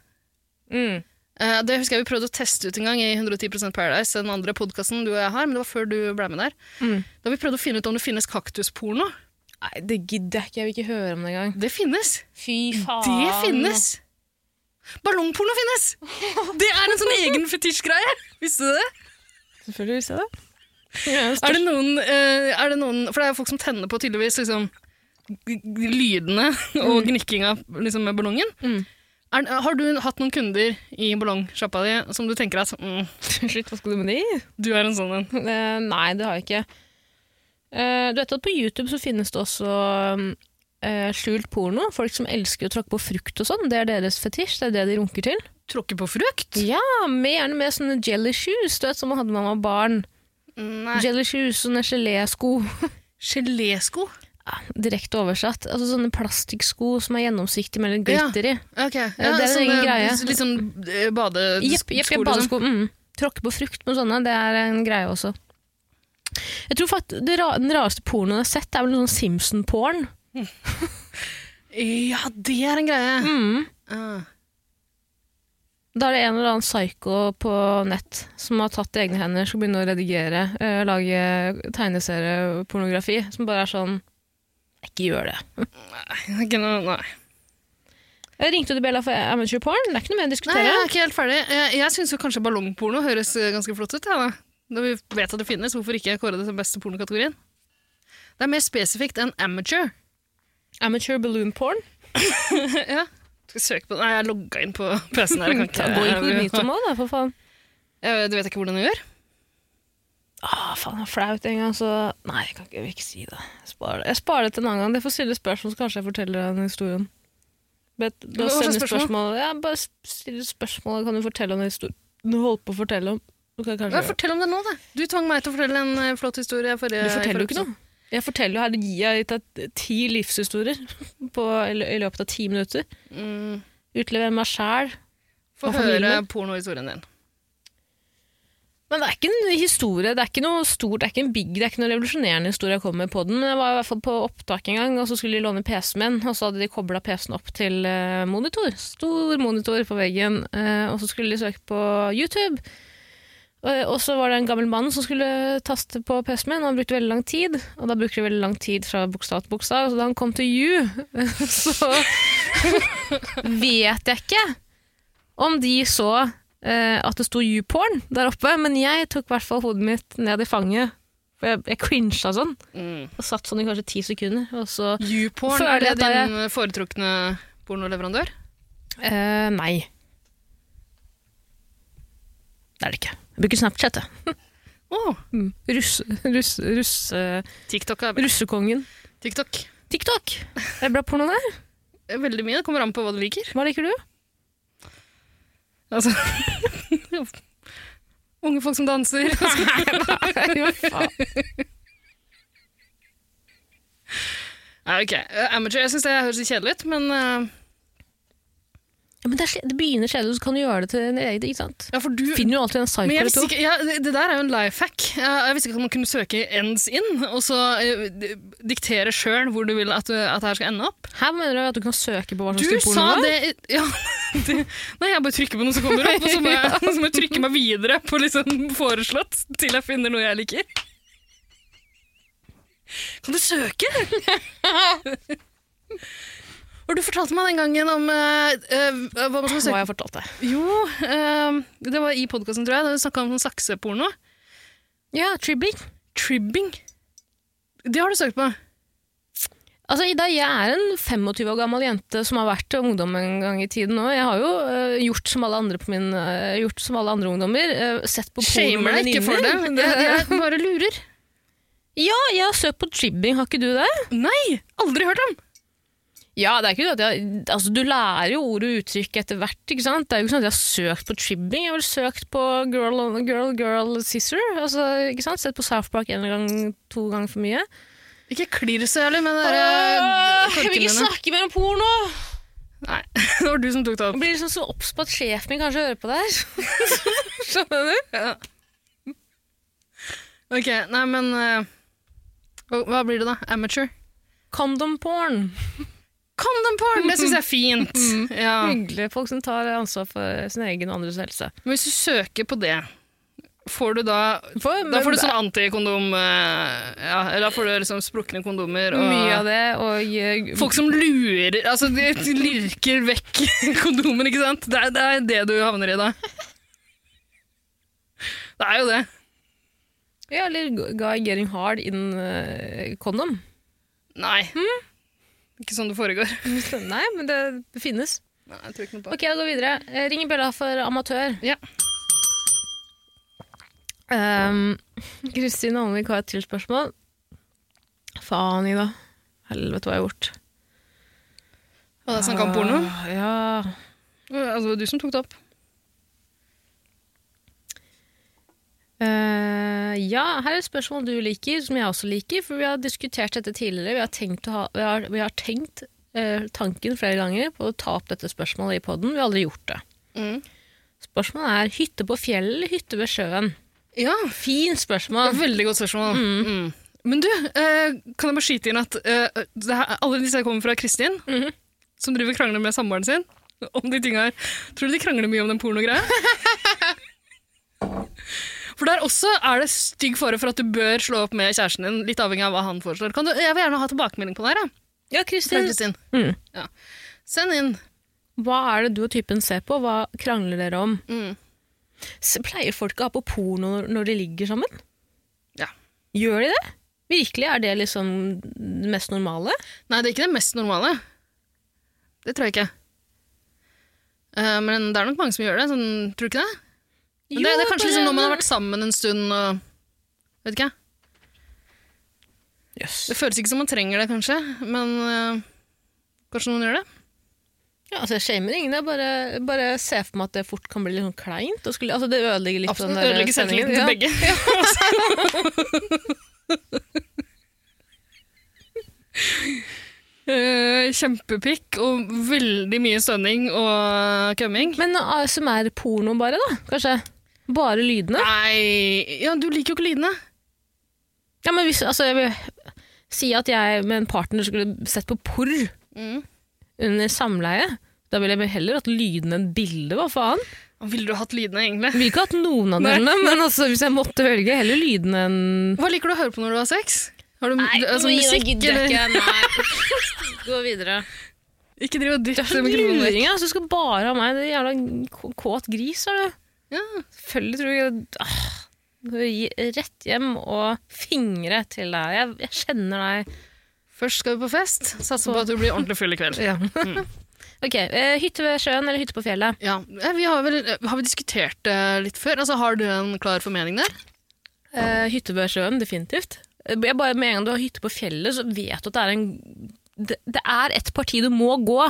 S3: Mm.
S2: Eh, det husker jeg vi prøvde å teste ut en gang i 110 Paradise, den andre podkasten du og jeg har, men det var før du ble med der.
S3: Mm.
S2: Da vi prøvde å finne ut om det finnes kaktusporno.
S3: Nei, det gidder jeg ikke. Jeg vil ikke høre om det engang.
S2: Det finnes!
S3: Fy faen.
S2: Det finnes! Ballongporno finnes! Det er en sånn egen fetisjgreie! Visste du det?
S3: Selvfølgelig visste jeg det.
S2: Er det, noen, eh, er det noen For det er jo folk som tenner på tydeligvis liksom, g- g- lydene og gnikkinga liksom, med ballongen.
S3: Mm.
S2: Er, har du hatt noen kunder i ballongsjappa di som du tenker at mm,
S3: Slutt, hva skal du med de?
S2: du er en sånn en?
S3: Eh, nei, det har jeg ikke. Eh, du vet at på YouTube så finnes det også mm, eh, skjult porno. Folk som elsker å tråkke på frukt og sånn. Det er deres fetisj. Det er det de runker til.
S2: Tråkke på frukt?
S3: Ja, med, gjerne med sånne jelly shoes, du vet, som man hadde da man var barn.
S2: Nei.
S3: Jelly shoes, sånne gelésko.
S2: Gelésko?
S3: Ja, Direkte oversatt. Altså sånne plastikksko som er gjennomsiktige med litt glitter i.
S2: Ok. Ja,
S3: det er en
S2: sånne-
S3: egen greie.
S2: Litt sånn eh, badesko.
S3: Jepp, jepp, jepp,
S2: liksom.
S3: badesko. Mm. Tråkke på frukt med sånne, det er en greie også. Jeg tror faktisk det ra Den rareste pornoen jeg har sett, er vel noe sånn Simpson-porn.
S2: Ja, det er en greie.
S3: Mm.
S2: Ah.
S3: Da er det en eller annen psyko på nett som har tatt i egne hender, skal begynne å redigere, eh, lage tegneseriepornografi, som bare er sånn Ikke gjør det.
S2: Ikke noe, nei.
S3: Jeg ringte til Bella for amateur porn. Det er ikke noe mer å
S2: Nei,
S3: diskutere.
S2: jeg er ikke helt ferdig. Jeg, jeg syns kanskje ballongporno høres eh, ganske flott ut. Ja, da. Når vi vet at det finnes, hvorfor ikke kåre det som beste pornokategorien? Det er mer spesifikt enn amateur.
S3: Amateur balloon porn.
S2: ja. Skal jeg søke på Nei, jeg logga inn på PC-en her. Jeg kan
S3: Gå inkognito
S2: ikke
S3: nå, da, for faen.
S2: jeg, Du vet ikke hvordan jeg gjør?
S3: Ah, faen, det er flaut en gang, så Nei, jeg kan ikke, jeg vil ikke si det. Jeg sparer det. Jeg sparer det til en annen gang. Det får stille spørsmål, så kanskje jeg forteller deg den historien. Bet, da
S2: Hva slags
S3: sender
S2: spørsmål?
S3: spørsmål. Ja, bare stille spørsmål, kan du fortelle om den historien du holdt på å fortelle om. Du, kan kanskje
S2: Ja, fortell om det nå, da. Du tvang meg til å fortelle en eh, flott historie. Forrige,
S3: du forteller jo ikke
S2: i forrige
S3: noe. Jeg forteller jo her, gir jeg deg ti livshistorier på, i lø- i løpet av ti minutter.
S2: episode. Mm,
S3: Utleverer meg sjæl.
S2: Få
S3: Og
S2: høre
S3: familien.
S2: pornohistorien din.
S3: Men det er ikke en historie, det er ikke noe stort, det er ikke en big, det er ikke noe revolusjonerende historie jeg kommer med på den. Men jeg var i hvert fall på opptak en gang, og så skulle de låne PC-en min, og så hadde de kobla PC-en opp til eh, monitor. Stor monitor på veggen. eh, og så skulle de søke på YouTube. Eh, Og, og så var det en gammel mann som skulle taste på PC-en min, og han brukte veldig lang tid. Og da bruker de veldig lang tid fra bokstav til bokstav, så da han kom til U, så vet jeg ikke om de så eh, at det sto YouPorn der oppe, men jeg tok i hvert fall hodet mitt ned i fanget. For jeg, jeg crincha sånn.
S2: Mm.
S3: Og satt sånn i kanskje ti sekunder. Og så
S2: YouPorn,
S3: Føler
S2: er det
S3: at jeg-
S2: din foretrukne pornoleverandør?
S3: eh, Nei. Det er det ikke. Jeg bruker Snapchat, jeg.
S2: Å,
S3: Mm. Russ, russ, russ, eh,
S2: TikTok er
S3: russekongen.
S2: TikTok.
S3: TikTok! Er det bra porno der?
S2: Veldig mye. Det kommer an på hva du liker.
S3: Hva liker du?
S2: Altså Unge folk som danser. Nei, ok. Eh, Amateur. Jeg syns det høres litt kjedelig ut, men eh,
S3: Ja, men det, er, sli- det begynner kjedelig, så kan du gjøre det til din egen, ikke sant?
S2: Ja, for du
S3: Du finner jo alltid en psycho
S2: men jeg
S3: eller
S2: visste
S3: to.
S2: ikke, ja, det det der er jo en life hack. Jeg, jeg visste ikke at man kunne søke ends in, og så eh, di- diktere sjøl hvor du vil at, du- at det her skal ende opp.
S3: Her mener du at du kan søke på hva
S2: Du
S3: slags type
S2: sa
S3: porno det var?
S2: det i- ja, det, Nei, jeg bare trykker på noe som kommer opp, og så må jeg, så må jeg trykke meg videre på liksom foreslått til jeg finner noe jeg liker. Kan du søke? Og du fortalte meg den gangen om eh, eh, hva man skal
S3: Hva
S2: søke
S3: har jeg fortalt deg?
S2: Jo, eh, det var i podkasten, tror jeg, da vi snakka om sånn sakseporno.
S3: Ja, tribbing.
S2: Tribbing. Det har du søkt på.
S3: Altså, Ida, jeg er en 25 år gammel jente som har vært ungdom en gang i tiden òg. Jeg har jo øh, gjort, som alle andre på min, øh, gjort som alle andre ungdommer. øh, sett på porno
S2: Shamer
S3: med
S2: deg ikke for det.
S3: venninner.
S2: men det- Jeg bare lurer.
S3: Ja, jeg har søkt på jibbing, har ikke du det?
S2: Nei! Aldri hørt om!
S3: Ja, det er ikke det at jeg, altså Du lærer jo ord og uttrykk etter hvert. ikke sant? Det er jo ikke sånn at jeg har søkt på tribbing. Jeg har vel søkt på girl, girl, girl scissor. altså, ikke sant? Sett på South Park en gang, to ganger for mye.
S2: Ikke klirr så jævlig med det
S3: Åh,
S2: der
S3: jeg vil ikke snakke mer om porno!
S2: Nei, det var du som tok det
S3: Jeg
S2: opp.
S3: blir liksom så obs på at sjefen min kanskje hører på det her. Skjønner du?
S2: Ja. Ok, nei, men eh, hva- Hva blir det, da? Amateur?
S3: Condom porn.
S2: Condom porn! Det syns jeg er fint.
S3: Mm.
S2: Ja.
S3: Hyggelige folk som tar ansvar for sin egen og andres helse.
S2: Men hvis du søker på det, får du da
S3: For,
S2: Da får du sånn antikondom eh, ja, eller Da får du liksom sprukne kondomer og
S3: mye av det, og eh,
S2: Folk som lurer Altså, de lirker vekk kondomer, ikke sant? Det er, det er det du havner i da. Det er jo det.
S3: Ja, eller guy getting hard in eh, kondom.
S2: Nei. Hmm? Ikke sånn det foregår.
S3: Nei, men det, det finnes.
S2: Nei, jeg tror ikke noe på det.
S3: Ok, jeg går videre. Eh, Ring i bjella for amatør.
S2: Ja.
S3: Ehm, Kristin Almvik har et til spørsmål. Faen, Ida. Helvete, hva har jeg gjort?
S2: Hva er det snakka om porno?
S3: Ah, Ja.
S2: Altså, det var du som tok det opp.
S3: Eh, ja, her er et spørsmål du liker, som jeg også liker. For vi har diskutert dette tidligere. Vi har tenkt, å ha, vi har, vi har tenkt eh, tanken flere ganger på å ta opp dette spørsmålet i poden. Vi har aldri gjort det.
S2: Mm.
S3: Spørsmålet er hytte på fjellet eller hytte ved sjøen?
S2: Ja.
S3: Fint spørsmål.
S2: Veldig godt spørsmål. Mm. Men du, eh, kan jeg bare skyte inn at eh, det her, alle disse her kommer fra Kristin, som driver og krangler med samboeren sin om de tinga her. Tror du de krangler mye om den pornogreia? For der også er det stygg fare for at du bør slå opp med kjæresten din, litt avhengig av hva han foreslår. Kan du, jeg vil gjerne ha tilbakemelding på det her, jeg,
S3: Ja,
S2: fra
S3: Kristin.
S2: Kristin.
S3: Mm.
S2: Ja. Send inn.
S3: Hva er det du og typen ser på? Hva krangler dere om?
S2: Mm.
S3: S- Pleier folk å ha på porno når- når de ligger sammen?
S2: Ja.
S3: Gjør de det? Virkelig? Er det liksom det mest normale?
S2: Nei, det er ikke det mest normale. Det tror jeg ikke. Eh, men det er nok mange som gjør det. Sånn, tror du ikke det? Men det, det er kanskje liksom når man har vært sammen en stund og Vet ikke. Det føles ikke som man trenger det, kanskje, men øh, kanskje noen gjør det?
S3: Ja, altså Jeg shamer ingen, jeg bare, bare ser for meg at det fort kan bli litt sånn kleint. Og skulle, altså Det ødelegger litt
S2: Absolutt.
S3: den der
S2: Ødelegger
S3: stemningen.
S2: selvtilliten til
S3: Ja.
S2: begge. Eh, kjempepikk og veldig mye stønning og eh, kømming.
S3: Men ASMR porno bare, da? Kanskje? Bare lydene?
S2: Nei Ja, du liker jo ikke lydene.
S3: Ja, men hvis, altså, jeg vil si at jeg med en partner skulle sett på porr
S2: Mm.
S3: under samleie. Da ville jeg heller hatt lydene enn bildet, hva faen?
S2: Ville du hatt lydene, egentlig?
S3: Jeg ville ikke hatt noen av
S2: Nei.
S3: delene, men altså, hvis jeg måtte velge, heller lydene enn
S2: Hva liker du å høre på når du har sex? Har du altså, musikk, eller?
S3: eller? Gå videre.
S2: Ikke driv og dytt
S3: Det er sånn
S2: mikrofonen vekk.
S3: luring, altså. Du skal bare ha meg. Det er jævla k- kåt gris, er du.
S2: Ja.
S3: Selvfølgelig tror jeg ah, du gir Rett hjem og fingre til deg. Jeg, jeg kjenner deg.
S2: Først skal vi på fest. Satser på at du blir ordentlig full i kveld.
S3: Ok, eh, hytte ved sjøen eller hytte på fjellet?
S2: Ja, eh, vi har, vel, eh, har vi diskutert det litt før? Altså, har du en klar formening der?
S3: Eh, hytte ved sjøen, definitivt. Eh, Jeg bare, med en gang du har hytte på fjellet, så vet du at det er en Det, det er et parti du må gå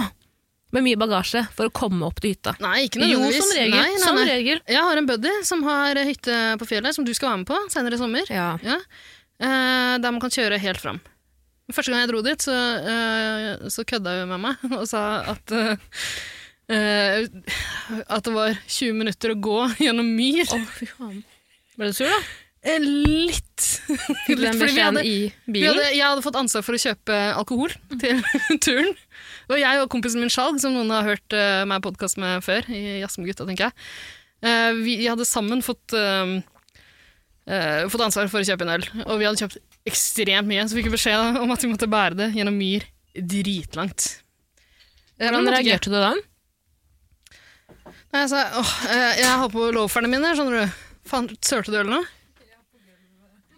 S3: med mye bagasje for å komme opp til hytta.
S2: Nei, ikke
S3: Jo,
S2: nødvendigvis.
S3: som regel.
S2: Nei, nei,
S3: Som
S2: nei.
S3: regel.
S2: Jeg har en buddy som har eh, hytte på fjellet, som du skal være med på senere i sommer.
S3: Ja.
S2: Ja. Eh, der man kan kjøre helt fram. Første gang jeg dro dit, så, eh, så kødda hun med meg og sa at eh, eh, at det var 20 minutter å gå gjennom myr.
S3: Å, fy faen. Ble du sur, da?
S2: Eh, Litt.
S3: Fikk du den
S2: fordi vi
S3: beskjeden
S2: hadde-
S3: i
S2: Vi
S3: bilen?
S2: hadde, jeg hadde fått ansvar for å kjøpe alkohol til turen. Og jeg og kompisen min Skjalg, som noen har hørt eh, meg podkast med før, i Jazz med gutta, tenker jeg, eh, vi hadde sammen fått, eh, eh, fått ansvar for å kjøpe en øl. Og vi hadde kjøpt ekstremt mye, så fikk vi beskjed om at vi måtte bære det gjennom myr dritlangt. Eh, men
S3: Hvordan
S2: måtte ikke.
S3: reagerte du da?
S2: Nei, jeg sa åh, eh, jeg har på loaferne mine, skjønner du. Faen, sørte du øl nå?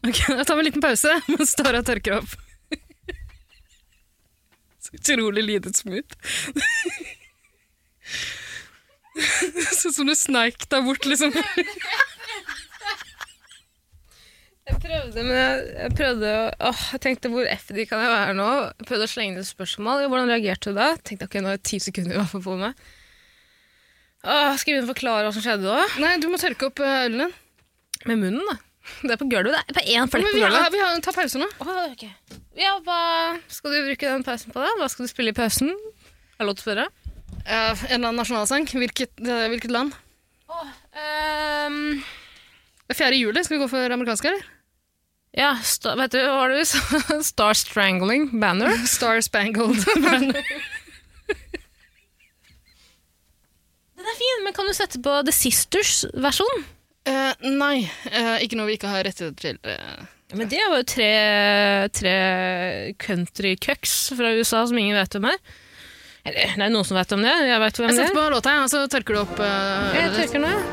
S2: Ok, jeg tar meg en liten pause mens Tara tørker opp. Så utrolig lite smooth. Det ser ut som du sneik deg bort, liksom.
S3: Jeg prøvde
S1: prøvde, men jeg, jeg prøvde å åh, Jeg tenkte hvor effektiv kan jeg være nå? Jeg prøvde å slenge inn et spørsmål. Jo, Hvordan reagerte du da? Jeg Tenkte ok, nå har jeg ti sekunder i hvert fall på meg. Åh, skal jeg begynne å forklare hva som skjedde da?
S2: Nei, du må tørke opp eh, ølen din.
S1: Med munnen, da. Det er på gulvet. Det er på én flekk
S2: Men
S1: på
S2: vi,
S1: gulvet.
S2: har, vi har, ta pause nå.
S1: Åh, ok. Ja, hva skal du bruke den pausen på, da? Hva skal du spille i pausen? Er det lov til å spørre?
S2: Eh, en eller annen nasjonalsang. Hvilket, eh, hvilket land?
S1: Ehm,
S2: Det er 4. juli. Skal vi gå for amerikansk, eller?
S1: ja, sta, vet du hva var det du sa? Star Strangling Banner?
S2: Star Spangled. Banner.
S1: Den er fin, men kan du sette
S3: På The Sisters versjon.
S2: Eh, nei, eh, ikke noe vi ikke har rettigheter til. eh.
S3: Men det var jo tre, tre countrycucks fra USA som ingen vet hvem er. Eller, det er noen som vet om det. Jeg vet hvem
S2: Jeg
S3: det
S2: setter
S3: er.
S2: på låta, jeg, og så tørker du opp eh,
S3: Jeg tørker nå, jeg.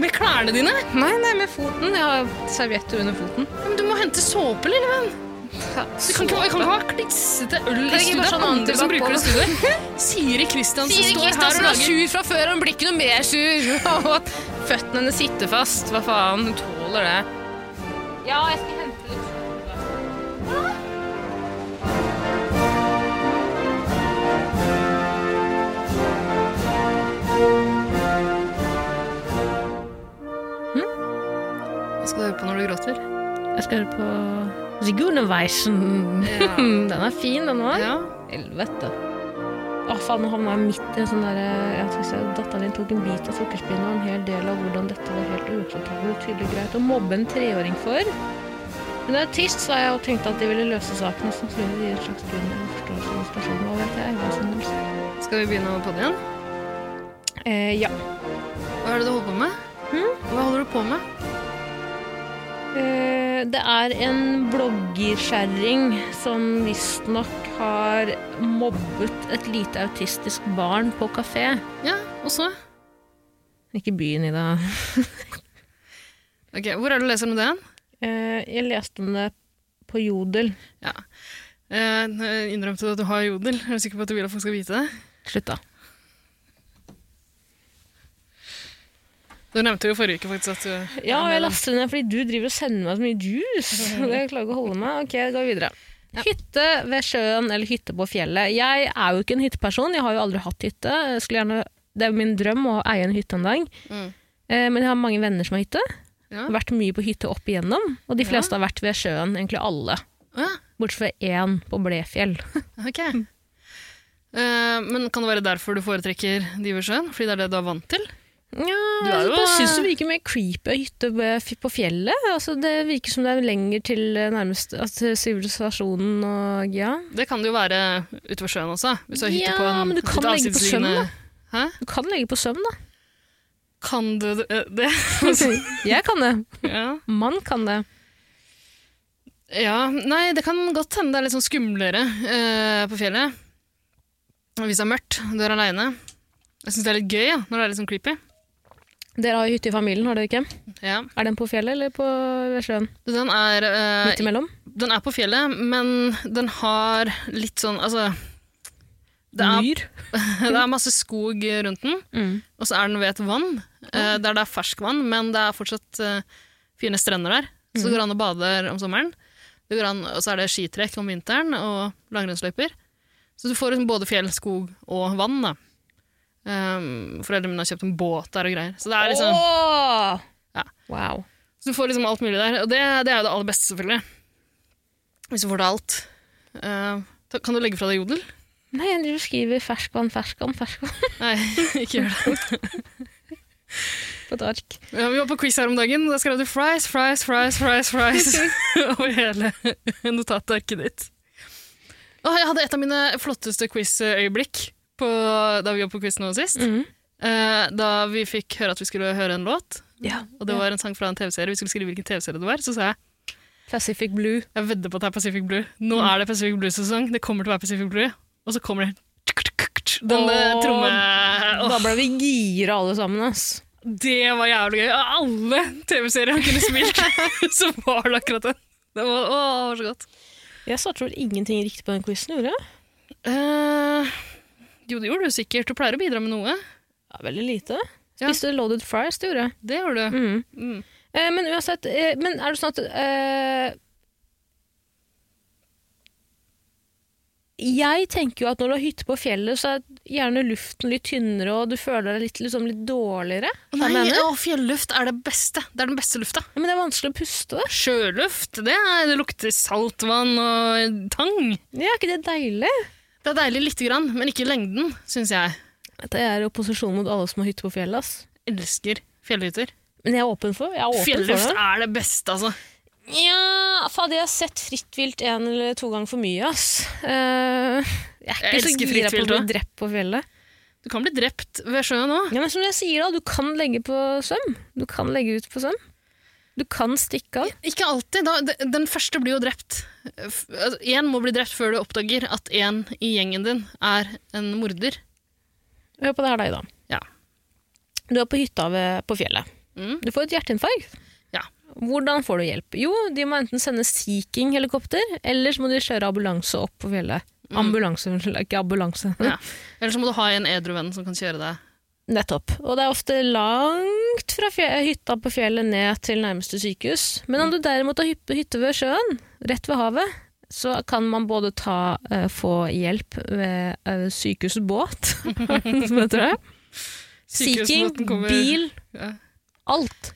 S2: med klærne dine.
S3: Nei, nei, med foten. Jeg har servietter under foten.
S2: Ja, Men du må hente såpe, lille venn. Du kan ikke, jeg kan ikke ha klissete øl i
S3: ikke
S2: studio.
S3: bare
S2: Det er
S3: sånn
S2: andre som
S3: antibac
S2: bruker det
S3: på
S2: i studio. Siri Kristiansen
S3: Siri
S2: står her og
S3: Kristiansen var
S2: lager
S3: sur fra før, hun blir ikke noe mer sur. Og at føttene hennes sitter fast. Hva faen, hun tåler det. Ja, jeg skal hente litt.
S2: Hva skal du høre på når du gråter?
S3: Jeg skal høre på Sigurneweisen. den er fin, den òg.
S2: Ja.
S3: Helvete. Å, faen, nå havna jeg midt i en sånn derre jeg tror ikke jeg- Datteren din tok en bit av sukkerspinnen og en hel del av hvordan dette var helt uakseptabelt og tydelig greit å mobbe en treåring for. Men det er trist, sa jeg og tenkte at de ville løse saken. Og sannsynligvis gi et slags grunn og forståelse for situasjonen. Hva vet jeg? Hva som helst.
S2: Skal vi begynne på det igjen?
S3: Eh, ja.
S2: Hva er det du holder på med? Hva holder du på med?
S3: Eh, Det er en bloggerskjæring som visstnok har mobbet et lite autistisk barn på kafé.
S2: Ja, og så?
S3: Ikke byen i dag.
S2: Ok, Hvor er det du leser om det? igjen?
S3: Eh, Jeg leste om det på Jodel.
S2: Ja. Eh, innrømte du at du har jodel? Er du sikker på at du vil at folk skal vite det?
S3: Slutt, da.
S2: Du nevnte jo forrige uke faktisk at du
S3: Ja, jeg laster den ned fordi du driver og sender meg så mye juice. Og Jeg klarer ikke å holde meg. Ok, jeg går videre. Hytte ved sjøen eller hytte på fjellet. Jeg er jo ikke en hytteperson. Jeg har jo aldri hatt hytte. Jeg skulle gjerne, det er jo min drøm å eie en hytte en dag.
S2: Mm.
S3: Eh, Men jeg har mange venner som har hytte.
S2: Ja.
S3: Vært mye på hytte opp igjennom. Og de fleste har vært ved sjøen, egentlig alle.
S2: Å ja,
S3: Bortsett fra én på Blefjell.
S2: ok. Eh, men kan det være derfor du foretrekker de ved sjøen? Fordi det er det du er vant til?
S3: Ja,
S2: Du er
S3: jeg
S2: jo-
S3: bare syns det virker mer creepy å hytte ved- f- på fjellet. Altså, det virker som det er lenger til eh, nærmest altså, sivilisasjonen og ja.
S2: Det kan det jo være ute ved sjøen også. Hvis du har hytte
S3: Ja,
S2: på en
S3: men du kan
S2: litt
S3: legge på søm,
S2: avsidesliggende- Hæ?
S3: Du kan legge på søvn, da.
S2: Kan du det? Eh, det?
S3: Jeg kan det.
S2: ja.
S3: Man kan det.
S2: ja. Nei, det kan godt hende det er litt sånn skumlere eh, på fjellet. Hvis det er mørkt, du er aleine. Jeg syns det er litt gøy ja, når det er litt sånn creepy.
S3: Dere har jo hytte i familien, har dere ikke?
S2: Ja.
S3: Er den på fjellet eller på ved sjøen?
S2: Du, Den, er, eh,
S3: Midt imellom?
S2: den er på fjellet, men den har litt sånn Altså det er,
S3: Myr?
S2: det er masse skog rundt den,
S3: Mm.
S2: og så er den ved et vann. eh, der det er ferskvann, men det er fortsatt eh, fine strender der. Så det går an å bade om sommeren. Det går an, og så er det skitrekk om vinteren og langrennsløyper. Så du får liksom både fjell, skog og vann. Da. Ehm, foreldrene mine har kjøpt en båt der og greier. Så, det er liksom,
S3: Åh!
S2: Ja.
S3: Wow.
S2: så du får liksom alt mulig der. Og det, det er jo det aller beste, selvfølgelig. Hvis du får til alt. Ehm, ta- kan du legge fra deg jodel?
S3: Nei, jeg driver og skriver ferskvann, ferskvann, ferskvann
S2: Nei, ikke gjør det.
S3: på et ark.
S2: Ja, vi var på quiz her om dagen. Da skrev du fries, fries, fries, fries, fries over hele notatarket ditt. Å, jeg hadde et av mine flotteste quiz-øyeblikk på, da vi var på quiz nå sist.
S3: Mhm.
S2: Eh, da vi fikk høre at vi skulle høre en låt,
S3: Ja.
S2: og det var en sang fra en TV-serie. Vi skulle skrive hvilken TV-serie det var. Så sa jeg
S3: Pacific Blue.
S2: jeg vedder på at det er Pacific Blue. Nå
S3: Mm.
S2: er det Pacific Blue-sesong. Det kommer til å være Pacific Blue. Og så kommer det denne
S3: Åh,
S2: tromme...
S3: Da
S2: Åh,
S3: ble vi gira alle sammen, ass.
S2: Det var jævlig gøy. Av alle TV-serier han kunne spilt, så var det akkurat den. Det var, å, det var så godt.
S3: Jeg svarte vel ingenting riktig på den quizen, gjorde jeg?
S2: Eh, jo, det gjorde du sikkert. Du pleier å bidra med noe.
S3: Ja, veldig lite.
S2: Ja.
S3: Spiste loaded fries, det gjorde jeg.
S2: Det gjorde du.
S3: Mm.
S2: Mm.
S3: Eh, men uansett, eh, men er det sånn at eh, Jeg tenker jo at når du har hytte på fjellet, så er gjerne luften litt tynnere, og du føler deg litt, liksom, litt dårligere.
S2: Nei,
S3: Hva mener du?
S2: å, fjelluft er det beste. Det er den beste lufta.
S3: Ja, men det er vanskelig å puste, da.
S2: Sjøluft, det, er, det lukter saltvann og tang.
S3: Ja, er ikke det deilig?
S2: Det er deilig lite grann, men ikke i lengden, syns jeg.
S3: Dette er opposisjon mot alle som har hytte på fjellet. Ass.
S2: Elsker fjellhytter.
S3: Men jeg er åpen for, jeg er åpen
S2: Fjelluft
S3: for det.
S2: er det beste, altså.
S3: Ja, faen, jeg har sett fritt vilt en eller to ganger for mye, ass. Eh, jeg er
S2: Jeg
S3: ikke
S2: elsker
S3: så gira på å
S2: Fritt Vilt
S3: bli
S2: også.
S3: drept på fjellet.
S2: Du kan bli drept ved sjøen òg.
S3: Ja, men som jeg sier da, du kan legge på søm. Du kan legge ut på søm. Du kan stikke av.
S2: Ikke alltid. Da, de- den første blir jo drept. F- altså, Én må bli drept før du oppdager at én i gjengen din er en morder.
S3: Hør på det her deg, da.
S2: Ja.
S3: Du er på hytta ved, på fjellet.
S2: Mm.
S3: Du får et hjerteinfarkt.
S2: Ja.
S3: Hvordan får du hjelp? Jo, de må enten sende Sea King-helikopter, eller så må de kjøre ambulanse opp på fjellet. Ambulanse, unnskyld. Ikke ambulanse.
S2: Ja. Eller så må du ha en edru venn som kan kjøre deg.
S3: Nettopp. Og det er ofte langt fra fje hytta på fjellet ned til nærmeste sykehus. Men om du derimot har hyppe- hytte ved sjøen, rett ved havet, så kan man både ta, eh, få hjelp ved eh, sykehusets båt, som heter det. Seeking,
S2: Sykehusbåten kommer-
S3: bil,
S2: Ja.
S3: alt.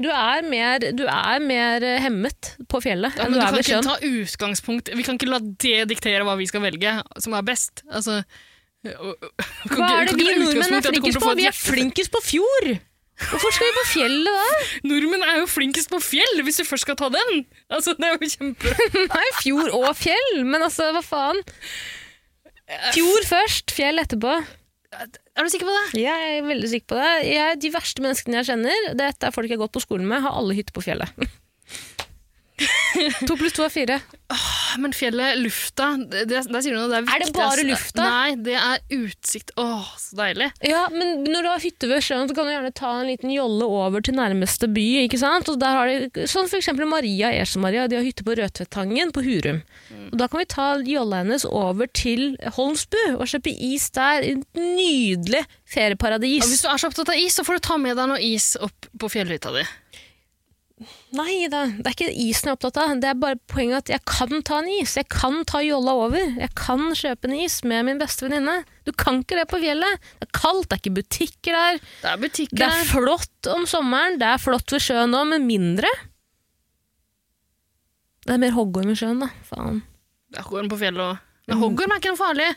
S3: Du er mer, du er mer eh, hemmet på fjellet
S2: Ja,
S3: enn
S2: men
S3: du
S2: du
S3: er
S2: kan
S3: ved
S2: ikke
S3: sjøen.
S2: ta utgangspunkt Vi kan ikke la det diktere hva vi skal velge, som er best. Altså, og- og-
S3: Hva
S2: kan
S3: er
S2: ikke-
S3: det
S2: kan
S3: vi
S2: ikke ta
S3: nordmenn er
S2: utgangspunkt i at
S3: flinkest
S2: du kommer til å få
S3: på?
S2: et
S3: Vi er
S2: hjerte-
S3: flinkest på fjord! Hvorfor skal vi på fjellet da?
S2: Nordmenn er jo flinkest på fjell, hvis du først skal ta den! Altså, det er jo kjempe...
S3: Nei, fjord og fjell, men altså, hva faen? Fjord først, fjell etterpå.
S2: Er du sikker på det?
S3: Jeg er veldig sikker på det. Jeg, de verste menneskene jeg kjenner, dette er folk jeg har gått på skolen med, har alle hytte på fjellet. to pluss to er fire.
S2: Men fjellet, lufta det, det, Der sier du noe, det er
S3: Er
S2: viktig.
S3: det bare
S2: ass.
S3: lufta?
S2: Nei, det er utsikt. Åh, så deilig.
S3: Ja, men når du har hytte ved sjøen, så kan du gjerne ta en liten jolle over til nærmeste by, ikke sant? Og der har de, sånn for eksempel Maria Esemaria, de har hytte på Rødtvedtangen på Hurum. Og da kan vi ta jolla hennes over til Holmsbu og kjøpe is der. Et nydelig
S2: Ja, hvis
S3: ferieparadis.
S2: du er så opptatt av is, så får du ta med deg noe is opp på fjellhytta di.
S3: Nei da, det er ikke isen jeg er opptatt av. Det er bare poenget at jeg kan ta en is. Jeg kan ta jolla over. Jeg kan kjøpe en is med min beste venninne. Du kan ikke det på fjellet. Det er kaldt, det er ikke butikker der.
S2: Det er butikker
S3: Det er
S2: der.
S3: flott om sommeren, det er flott ved sjøen òg, men mindre. Det er mer hoggorm i sjøen, da. Faen.
S2: Det er hoggorm på fjellet òg. Men hoggorm er ikke noe farlig.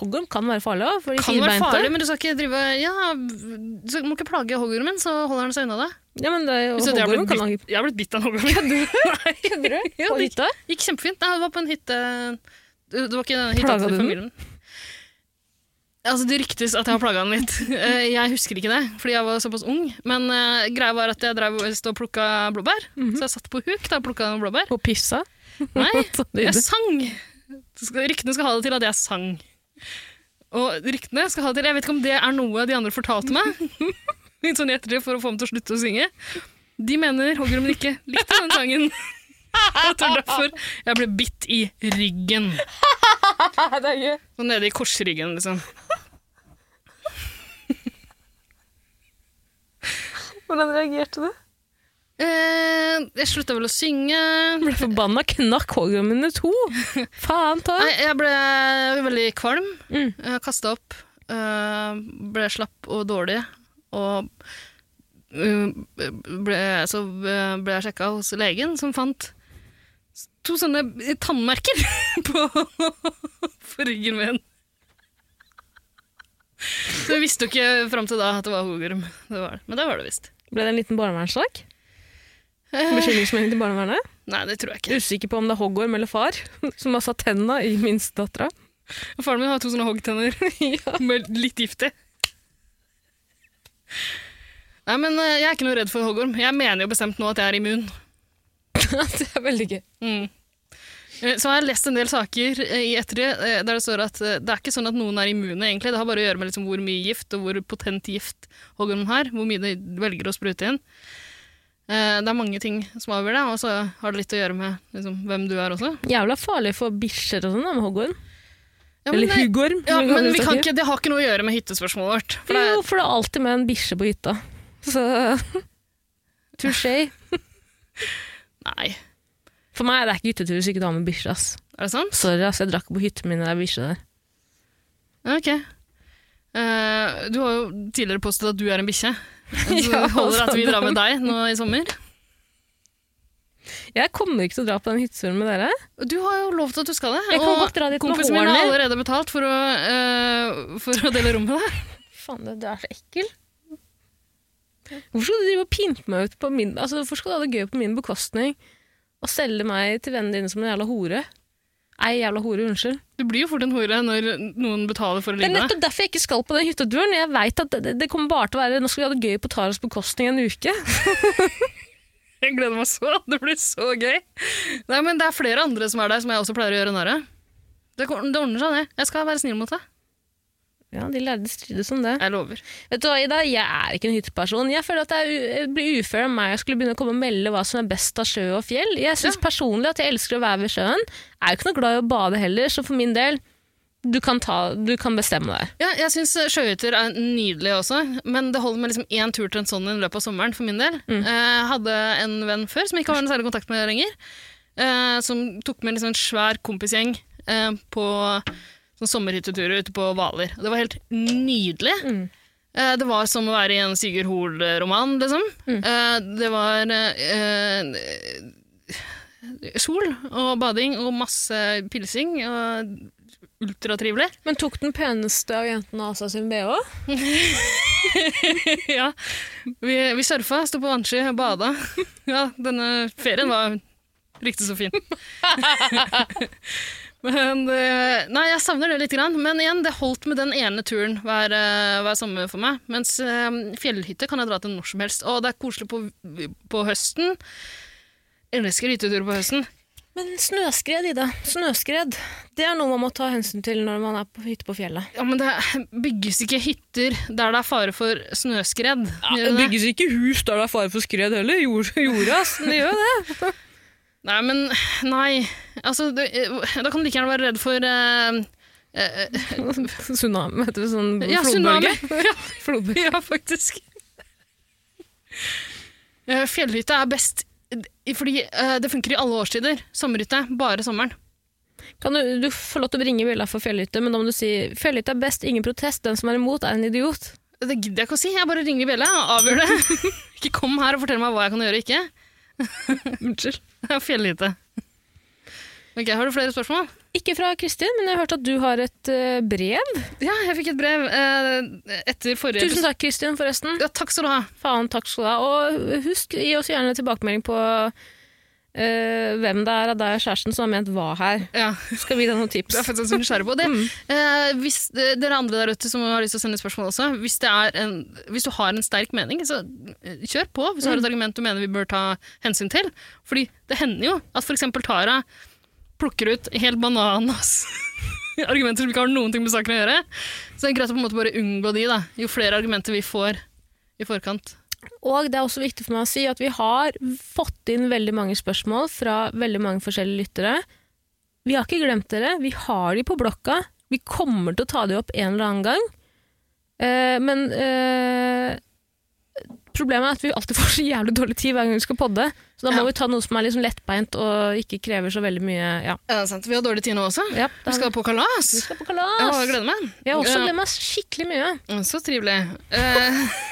S3: Hoggorm kan være farlig òg, for de
S2: Kan være
S3: firbeinte.
S2: farlig, men du skal ikke drive Ja, du skal- må ikke plage hoggormen, så holder den seg unna deg.
S3: Ja, men det er jo
S2: Så jeg, har
S3: hoggorm
S2: blitt
S3: kan
S2: bitt,
S3: angripe
S2: jeg har blitt bitt av en hoggorm.
S3: Kødder du?
S2: Ja,
S3: På
S2: det-
S3: hytta?
S2: Gikk kjempefint. Nei, det var på en hytte Det var ikke den hytta
S3: Plaga
S2: til
S3: du den?
S2: familien. Altså, Det ryktes at jeg har plaga den litt. Eh, Jeg husker ikke det, fordi jeg var såpass ung. Men eh, greia var at jeg drev og stod og plukka blåbær.
S3: Mhm.
S2: Så jeg satt på huk da og plukka blåbær.
S3: På pissa?
S2: Nei,
S3: Så
S2: jeg
S3: nydelig.
S2: sang. Så skal- Ryktene skal ha det til at jeg sang. Og ryktene skal ha det til Jeg vet ikke om det er noe de andre fortalte meg. Litt sånn i ettertid for å få meg til å slutte å synge. De mener hoggormen ikke likte den sangen. Og Det er derfor jeg ble bitt i ryggen. Sånn nede i korsryggen, liksom.
S3: Hvordan reagerte du?
S2: Eh, jeg slutta vel å synge.
S3: Ble forbanna knakk hoggormen i to. Faen ta.
S2: Nei, jeg ble veldig kvalm.
S3: Mm.
S2: Jeg Kasta opp. eh, Ble slapp og dårlig. Og eh, ble, så eh, ble jeg sjekka hos legen, som fant s- to sånne tannmerker på, på ryggen min. Så jeg visste jo ikke fram til da at det var hoggorm. Det var det. Men det var det visst.
S3: Ble det en liten barnevernssak?
S2: Eh,
S3: Bekymringsmelding til barnevernet?
S2: nei, det tror jeg ikke.
S3: Usikker på om det er hoggorm eller far som har satt tenna i minstedattera.
S2: Faren min har to sånne hoggtenner med litt gift i. Nei, men eh, jeg er ikke noe redd for hoggorm. Jeg mener jo bestemt nå at jeg er immun.
S3: det er veldig gøy.
S2: Mm. Eh, Så har jeg lest en del saker eh, i ettertid eh, der det står at eh, det er ikke sånn at noen er immune, egentlig. Det har bare å gjøre med liksom hvor mye gift og hvor potent gift hoggormen har. Hvor mye de velger å sprute inn. Eh, Det er mange ting som avgjør det, og så har det litt å gjøre med liksom, hvem du er også.
S3: Jævla farlig for bikkjer og sånn da, med hoggorm.
S2: Ja, men
S3: Eller
S2: det,
S3: huggorm.
S2: ja,
S3: som det
S2: men
S3: kalles
S2: vi kan
S3: også.
S2: ikke, det har ikke noe å gjøre med hyttespørsmålet vårt. For det,
S3: Jo, for det er alltid med en bikkje på hytta. Så Touché.
S2: Nei,
S3: For meg er det ikke hyttetur hvis ikke du har med bikkje. ass.
S2: er det sant?
S3: Sorry, ass, jeg drakk på hytten min da det er bikkje der.
S2: Ok. Eh, du har jo tidligere påstått at du er en bikkje. Så
S3: Ja,
S2: holder det at vi
S3: sånn.
S2: drar med deg nå i sommer.
S3: Jeg kommer ikke til å dra på den hytteturen med dere.
S2: Du har jo lovt at du skal det.
S3: Jeg kan
S2: og
S3: godt dra dit med
S2: kompisen min har
S3: hornet.
S2: allerede betalt for å, eh, for å dele rom med deg.
S3: Faen, det- du er så ekkel. Hvorfor skal du drive og pimpe meg ut på min Altså, Hvorfor skal du ha det gøy på min bekostning og selge meg til vennene dine som en jævla hore? Ei jævla hore, unnskyld.
S2: Du blir jo fort en hore når noen betaler for å
S3: Det er
S2: ligge med deg.
S3: nettopp derfor jeg ikke skal på den hytteturen. Jeg vet at det- det, det kommer bare til å være Nå skal vi ha det gøy på Taras bekostning en uke.
S2: Jeg gleder meg så. Det blir så gøy. Nei, men det er flere andre som er der, som jeg også pleier å gjøre narr av. Det, kom- det ordner seg, det. Jeg skal være snill mot deg.
S3: Ja, de lærde strides om det.
S2: Jeg lover.
S3: Vet du hva, Ida? Jeg er ikke en hytteperson. Jeg føler at det er u- det blir ufair av meg å skulle begynne å komme og melde hva som er best av sjø og fjell. Jeg syns personlig at jeg elsker å være ved sjøen. Jeg er jo ikke noe glad i å bade heller, så for min del, du kan, ta, du kan bestemme deg.
S2: Ja, jeg syns sjøhytter er nydelige også, men det holder med liksom én tur til en sånn i løpet av sommeren for min del. Eh, Jeg hadde en venn før som jeg ikke har noe særlig kontakt med lenger, eh, som tok med liksom en svær kompisgjeng eh, på sånn sommerhytteturer ute på Hvaler. Det var helt nydelig. Eh, Det var som å være i en Sigurd Hoel-roman, liksom. Eh, Det var eh, eh, sol og bading og masse pilsing og ultratrivelig.
S3: Men tok den peneste av jentene av seg sin bh?
S2: ja. Vi, vi surfa, sto på vannski, bada. Ja, denne ferien var riktig så fin. men eh, Nei, jeg savner det litt. Grann. Men igjen, det holdt med den ene turen hver, eh, hver sommer for meg. Mens eh, fjellhytte kan jeg dra til når som helst. Og det er koselig på, på høsten. Elsker hyttetur på høsten.
S3: Men snøskred, Ida. Snøskred. Det er noe man må ta hensyn til når man er på hytte på fjellet.
S2: Ja, Men det bygges ikke hytter der det er fare for snøskred. Gjør det
S3: det
S2: det?
S3: bygges ikke hus der det er fare for skred heller. Jord- Jorda, ass. Det gjør det.
S2: Nei, men Nei. Altså, du, eh, da kan du like gjerne være redd for eh, eh,
S3: Tsunami, heter det sånn
S2: Ja,
S3: flodbølge?
S2: tsunami. Ja, ja, faktisk. Eh, Fjellhytte er best eh, fordi eh, det funker i alle årstider. Sommerhytte, bare sommeren.
S3: Kan du, du får lov til å bringe Villa for fjellhytte, men da må du si fjellhytte er best, ingen protest, den som er imot er en idiot.
S2: Det gidder jeg ikke å si. Jeg bare ringer i bjella og avgjør det. ikke kom her og fortell meg hva jeg kan gjøre og ikke. Unnskyld. Fjellhytte. Ok, Har du flere spørsmål?
S3: Ikke fra Kristin, men jeg har hørt at du har et eh, brev.
S2: Ja, jeg fikk et brev eh, etter forrige
S3: Tusen takk, Kristin, forresten.
S2: Ja, takk skal du ha.
S3: Faen, takk skal du ha. Og husk, gi oss gjerne tilbakemelding på eh, hvem det er av deg og kjæresten som har ment hva her.
S2: Ja.
S3: Skal vi gi deg noen tips?
S2: Det er faktisk ganske nysgjerrig på. Det, eh, hvis eh, dere andre der ute som har lyst til å sende spørsmål også, hvis, det er en, hvis du har en sterk mening, så eh, kjør på. Hvis du har et argument du mener vi bør ta hensyn til. Fordi det hender jo at f.eks. Tara plukker ut helt bananas argumenter som ikke har noen ting med saken å gjøre. Så det er greit å på en måte bare unngå de, da. Jo flere argumenter vi får i forkant.
S3: Og det er også viktig for meg å si at vi har fått inn veldig mange spørsmål fra veldig mange forskjellige lyttere. Vi har ikke glemt dere. Vi har de på blokka. Vi kommer til å ta de opp en eller annen gang. Eh, men eh, problemet er at vi alltid får så jævlig dårlig tid hver gang vi skal podde. Så da må
S2: Ja.
S3: vi ta noe som er liksom lettbeint og ikke krever så veldig mye Ja,
S2: Ja, det er sant. Vi har dårlig tid nå også.
S3: ja
S2: Vi
S3: da,
S2: skal på kalas.
S3: vi skal på
S2: Jeg
S3: kalas.
S2: bare gleder meg.
S3: Vi har også
S2: Ja.
S3: glemt oss skikkelig mye.
S2: Mm, Så trivelig. Eh,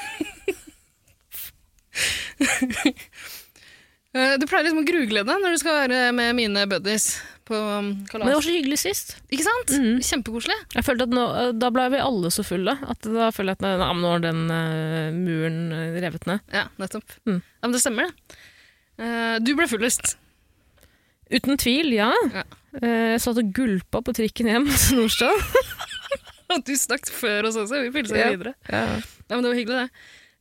S2: Eh, du pleier liksom å grugle deg når du skal være med mine buddies på um,
S3: Men det var
S2: kalas.
S3: så hyggelig sist.
S2: Ikke sant?
S3: Mm.
S2: Kjempekoselig.
S3: Jeg følte at nå, eh, Da ble vi alle så fulle at da føler jeg at nei, men nå er den eh, muren eh, revet ned.
S2: Ja, nettopp.
S3: Mm.
S2: Ja, men det stemmer, det. Eh, du ble fullest.
S3: Uten tvil, ja.
S2: Ja.
S3: Eh, Jeg satt og gulpa på trikken hjem til Nordstrand.
S2: Og du snakket før oss også. Vi pilsa
S3: Ja.
S2: videre. Ja, men det var hyggelig, det.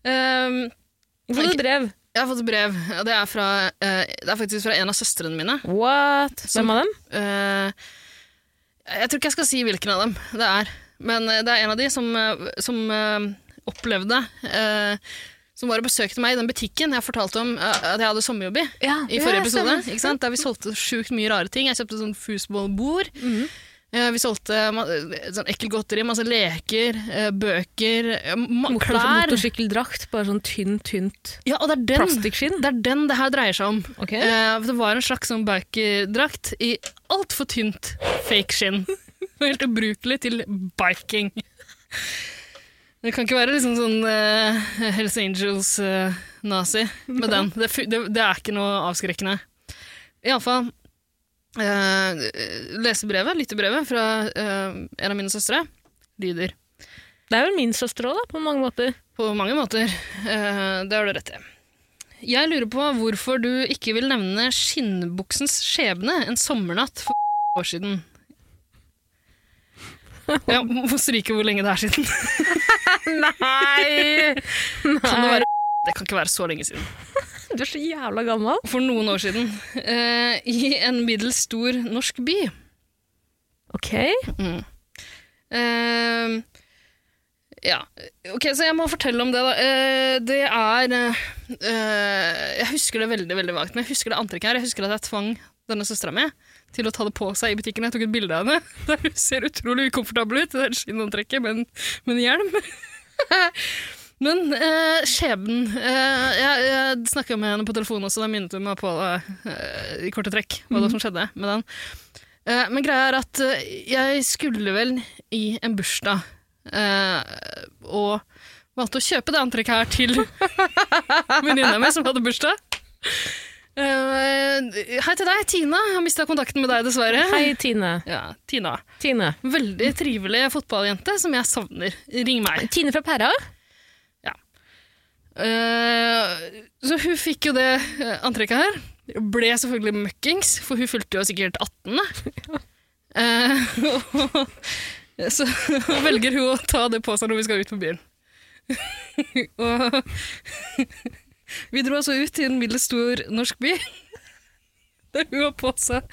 S2: Um,
S3: Hvorfor det brev?
S2: jeg har fått et brev. og Det er, fra, eh, det er faktisk fra en av søstrene mine.
S3: What? Hvem av dem?
S2: Eh, jeg tror ikke jeg skal si hvilken av dem det er, men eh, det er en av de som, eh, som eh, opplevde eh, Som var og besøkte meg i den butikken jeg fortalte om eh, at jeg hadde sommerjobb i. I forrige episode, ikke sant? Der vi solgte sjukt mye rare ting. Jeg kjøpte sånn foosballbord. Eh, Vi solgte ma- eh, sånn ekkelt godteri, masse leker, eh, bøker, eh, ma- klær.
S3: Motorsykkeldrakt, bare sånn tynt, tynt
S2: Ja, og det er den
S3: plastikkskinn.
S2: det, er den det her dreier seg om.
S3: Ok.
S2: Eh, for det var en slags sånn bikerdrakt i altfor tynt fake skinn. Helt ubrukelig til biking. Det kan ikke være liksom sånn eh, Hells Angels-nazi med den. Det, fu- det, det er ikke noe avskrekkende. Iallfall uh, lesebrevet, lyttebrevet, fra eh, en av mine søstre lyder
S3: Det er vel min søster òg, på mange måter.
S2: på mange måter. Eh, det har du rett i. Jeg lurer på hvorfor du ikke vil nevne skinnbuksens skjebne en sommernatt for år siden. Jeg må stryke hvor lenge det er siden.
S3: Nei!
S2: Kan det, være? det kan ikke være så lenge siden.
S3: Du er så jævla gammel.
S2: For noen år siden. eh, I en middels stor norsk by.
S3: Ok.
S2: Mm. Eh, ja, ok, så jeg må fortelle om det da. Eh, det er, eh, jeg husker det veldig, veldig vagt, men jeg husker det antrekket her. Jeg husker at jeg tvang denne søstra mi til å ta det på seg i butikken. Jeg tok et bilde av henne, der hun ser utrolig ukomfortabel ut, det er skinnantrekket, men, men hjelm. Men eh, skjebnen eh, jeg, jeg snakka med henne på telefonen også, da minnet hun meg på eh, i korte trekk hva det var som skjedde med den. Eh, men greia er at eh, jeg skulle vel i en bursdag, eh, og valgte å kjøpe det antrekket her til venninna mi som hadde bursdag. Eh, hei til deg, Tina. Jeg mista kontakten med deg, dessverre.
S3: Hei, Tine.
S2: Ja, Tina.
S3: Tine.
S2: Veldig trivelig fotballjente som jeg savner. Ring meg.
S3: Tine fra Pæra?
S2: Eh, så hun fikk jo det eh, antrekket her. Ble selvfølgelig møkkings, for hun fulgte jo sikkert 18. da. Eh, og- så velger hun å ta det på seg når vi skal ut på byen. og vi dro altså ut i en middels stor norsk by. Der hun har på seg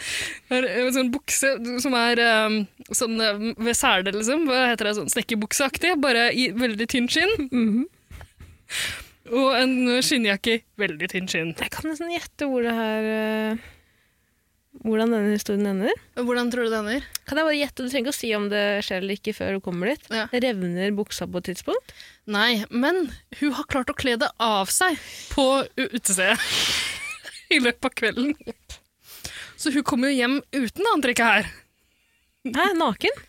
S2: har en sånn bukse som er eh, sånn eh, ved selet, liksom. Hva heter det? Sånn snekkerbukseaktig, bare i veldig tynn skinn. Og en skinnjakke. Veldig tynn skinn.
S3: Jeg kan nesten gjette hvor det her eh, Hvordan denne historien ender.
S2: Hvordan tror du det ender?
S3: Kan jeg bare gjette? Du trenger ikke å si om det skjer eller ikke før du kommer dit.
S2: Ja.
S3: Revner buksa på et tidspunkt?
S2: Nei, men hun har klart å kle det av seg på u- utestedet i løpet av kvelden. Så hun kommer jo hjem uten det antrekket her.
S3: Hæ, naken?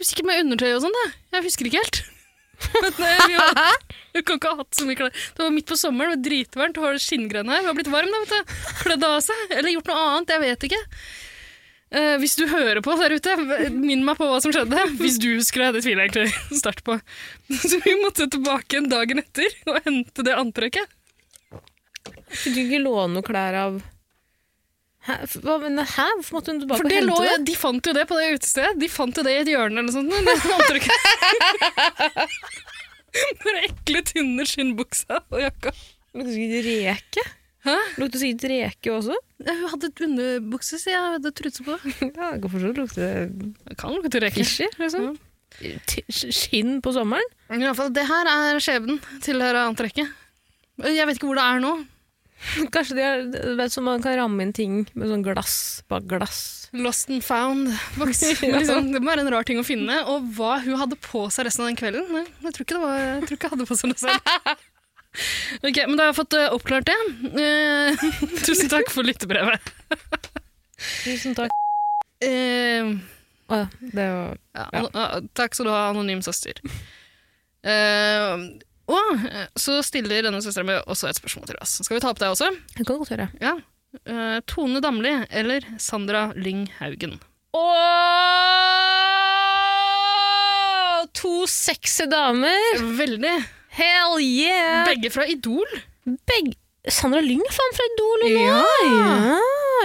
S2: Sikkert med undertøy og sånn, da. Jeg husker ikke helt. Men eh, vi var, hun kan ikke ha hatt så mye klær. Det var midt på sommeren, det var dritvarmt, hun har skinngreiene her. Hun har blitt varm, da, vet du. Kledd av seg. Eller gjort noe annet, jeg vet ikke. Eh, hvis du hører på der ute, minn meg på hva som skjedde. Hvis du husker det, det tviler jeg egentlig sterkt på. Så vi måtte tilbake en dagen etter og hente det antrekket.
S3: Fikk du ikke låne noen klær av Hæ? F- Hva, men, hæ? Hvorfor måtte hun tilbake
S2: For
S3: og
S2: det
S3: hente
S2: lå,
S3: det?
S2: de fant jo det på det utestedet. De fant jo det i et hjørne eller noe sånt. Det antrekket. Den ekle, tynne skinnbuksa og jakka.
S3: Lukter sikkert reke.
S2: Hæ?
S3: Lukter sikkert reke også.
S2: Ja, Hun hadde et underbukse, så jeg hadde truse på.
S3: Ja, jeg kan forstå det lukter
S2: Jeg kan lukte reker.
S3: fishy, liksom. T- Skinn på sommeren?
S2: I alle fall, det her er skjebnen til det her antrekket. Jeg vet ikke hvor det er nå.
S3: Kanskje de har, vet, så man kan ramme inn ting med sånn glass bak glass.
S2: Lost and found-boks. Men Liksom, det må være en rar ting å finne. Og hva hun hadde på seg resten av den kvelden Nei, Jeg tror ikke det var, jeg tror ikke jeg hadde på seg noe selv. Ok, Men da har jeg fått eh, oppklart det. Eh, tusen takk for lyttebrevet.
S3: Tusen takk.
S2: Eh,
S3: Å, ja, det var
S2: Ja, an ja, takk skal du ha, anonym søster. Eh, og eh, så stiller denne søsteren min også et spørsmål til oss. Skal vi ta opp det også?
S3: Det kan godt høre.
S2: Ja. Eh, Tone Damli eller Sandra Lyng Haugen?
S3: Åh! To sexy damer!
S2: Veldig.
S3: Hell yeah!
S2: Begge fra Idol.
S3: Begge Sandra Lyng er faen fra Idol! hun
S2: Ja.
S3: er. ja!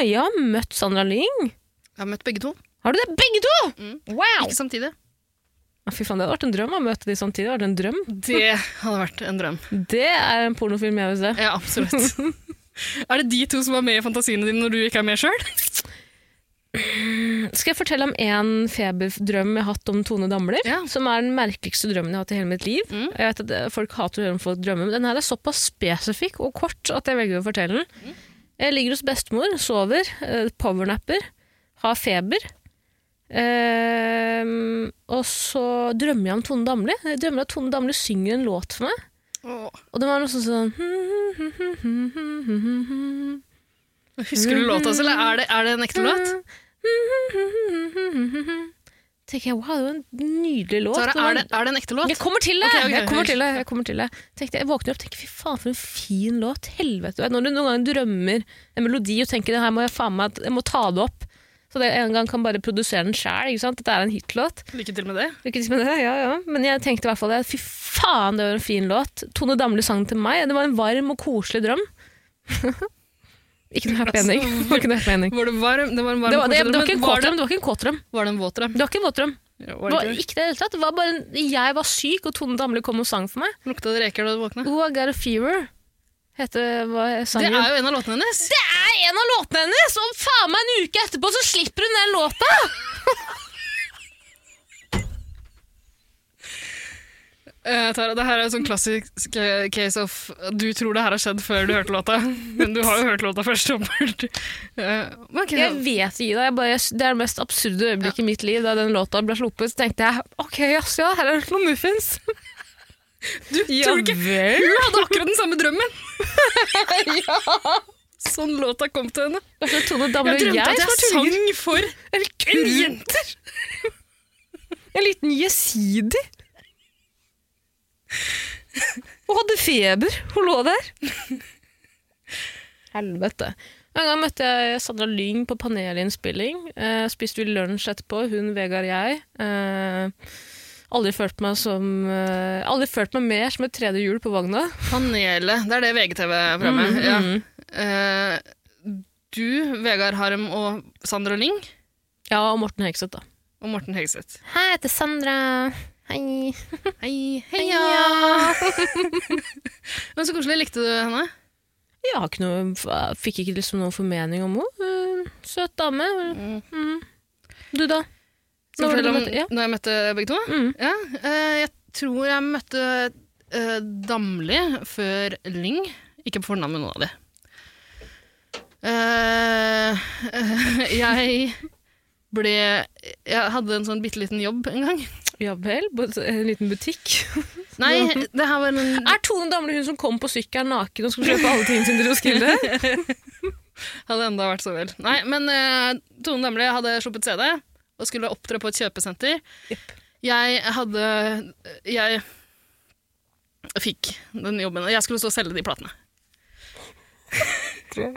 S3: Jeg har møtt Sandra Lyng.
S2: Jeg har møtt begge to.
S3: Har du det? Begge to?!
S2: Mm.
S3: Wow!
S2: Ikke samtidig.
S3: Å, Fy faen, Det hadde vært en drøm å møte de samtidig. Det hadde vært en drøm.
S2: Det hadde vært en drøm.
S3: Det er en pornofilm jeg vil se.
S2: Ja, absolutt. er det de to som var med i fantasiene dine når du ikke er med sjøl?
S3: Skal jeg fortelle om en feberdrøm jeg har hatt om Tone Damli?
S2: Ja.
S3: Som er den merkeligste drømmen jeg har hatt i hele mitt liv.
S2: Mm.
S3: Jeg vet at eh, Folk hater å høre om folk drømmer, men den her er såpass spesifikk og kort at jeg velger å fortelle den.
S2: Mm.
S3: Jeg ligger hos bestemor, sover, eh, powernapper, har feber. Eh, Og så drømmer jeg om Tone Damli. Jeg drømmer at Tone Damli synger en låt for meg. Og det var noe sånn hmm, sånn
S2: Husker du låta, eller er det, er det en ekte låt?
S3: Tenker jeg, wow, det var en nydelig låt.
S2: Sara,
S3: Det var-
S2: er det, er det en ekte
S3: Jeg
S2: låt?
S3: kommer til det!
S2: Ok, ok,
S3: jeg kommer
S2: ok.
S3: til det, jeg kommer til det. Tenkte, jeg våkner opp og tenker fy faen for en fin låt. Helvete. Du vet, Når du noen ganger drømmer en melodi og tenker det her må jeg faen meg jeg må ta det opp. Så det en gang kan bare produsere den sjæl. Dette er en hitlåt.
S2: Lykke til med det.
S3: Lykke til med det, ja, ja. Men jeg tenkte i hvert fall det. Fy faen, det var en fin låt. Tone Damli sang den til meg. Det var en varm og koselig drøm. ikke noe happy ending. Det var ikke noe happy ending.
S2: Var det varm? Det var, en varm
S3: Det var, det, det var
S2: fortsatt,
S3: ikke en
S2: men
S3: kåt
S2: var,
S3: drøm,
S2: det,
S3: det var ikke en kåt drøm.
S2: var det en våt drøm?
S3: Det var ikke en våt drøm.
S2: Ja,
S3: Det
S2: var
S3: var
S2: det ikke det?
S3: ikke det i det hele tatt. Det var bare en, jeg var syk, og Tone Damli kom og sang for meg.
S2: Lukta det reker da du våkna?
S3: Oh, I Got A Fever heter hva jeg sang
S2: Det
S3: jo.
S2: er jo en av låtene hennes!
S3: Det er en av låtene hennes! Og faen meg en uke etterpå så slipper hun den låta!
S2: Eh, Tara, det her er jo sånn klassisk eh, case of du tror det her har skjedd før du hørte låta, men du har jo hørt låta først. åpenbart. Eh, men ok,
S3: Jeg vet ikke, da. Jeg bare, det er det mest absurde øyeblikket i mitt liv. Da den låta ble sluppet, så tenkte jeg ok, jaså, ja, her er det noen muffins.
S2: du tror du ikke
S3: vel?
S2: Hun hadde akkurat den samme drømmen! Sånn låta kom til henne.
S3: Altså, Tone Damli og
S2: Jeg drømte
S3: jeg
S2: at jeg
S3: var
S2: sang for
S3: en,
S2: en
S3: kul-
S2: jente!
S3: en liten jesidi. Hun hadde feber. Hun lå der. Helvete. En gang møtte jeg Sandra Lyng på panelinnspilling. Eh, spiste vi lunsj etterpå, hun, Vegard, jeg. Eh, aldri følt meg som eh, Aldri følt meg mer som et tredje hjul på vogna.
S2: Panelet, det er det VGTV-programmet.
S3: Mm,
S2: Ja.
S3: mm.
S2: Eh, du, Vegard Harem og Sandra Lyng
S3: ja, og Morten Hegseth, da.
S2: og Morten Hegseth.
S3: Hei, jeg heter Sandra. Hei.
S2: Hei,
S3: Heia.
S2: Men så koselig. Likte du henne?
S3: Jeg har ikke noe, f- fikk ikke liksom noen formening om henne. Eh, Søt dame. Mm. Du, da? Når var det
S2: Skal jeg fortelle
S3: du
S2: om
S3: møtte- ja.
S2: når jeg møtte begge to?
S3: Mm.
S2: Ja, eh, jeg tror jeg møtte eh, Damli før Lyng. Ikke på fornavn med noen av de. Eh, eh, jeg ble Jeg hadde en sånn bitte liten jobb en gang.
S3: Ja vel, på et- en liten butikk.
S2: Nei, det her var en
S3: Er Tone Damli hun som kom på sykkelen naken og skulle kjøpe alle tingene sine til Roskilde?
S2: Hadde enda vært så vel. Nei, men eh, Tone Damli hadde sluppet CD og skulle opptre på et kjøpesenter. Jeg hadde Jeg fikk den jobben. og Jeg skulle stå og selge de platene. Ja,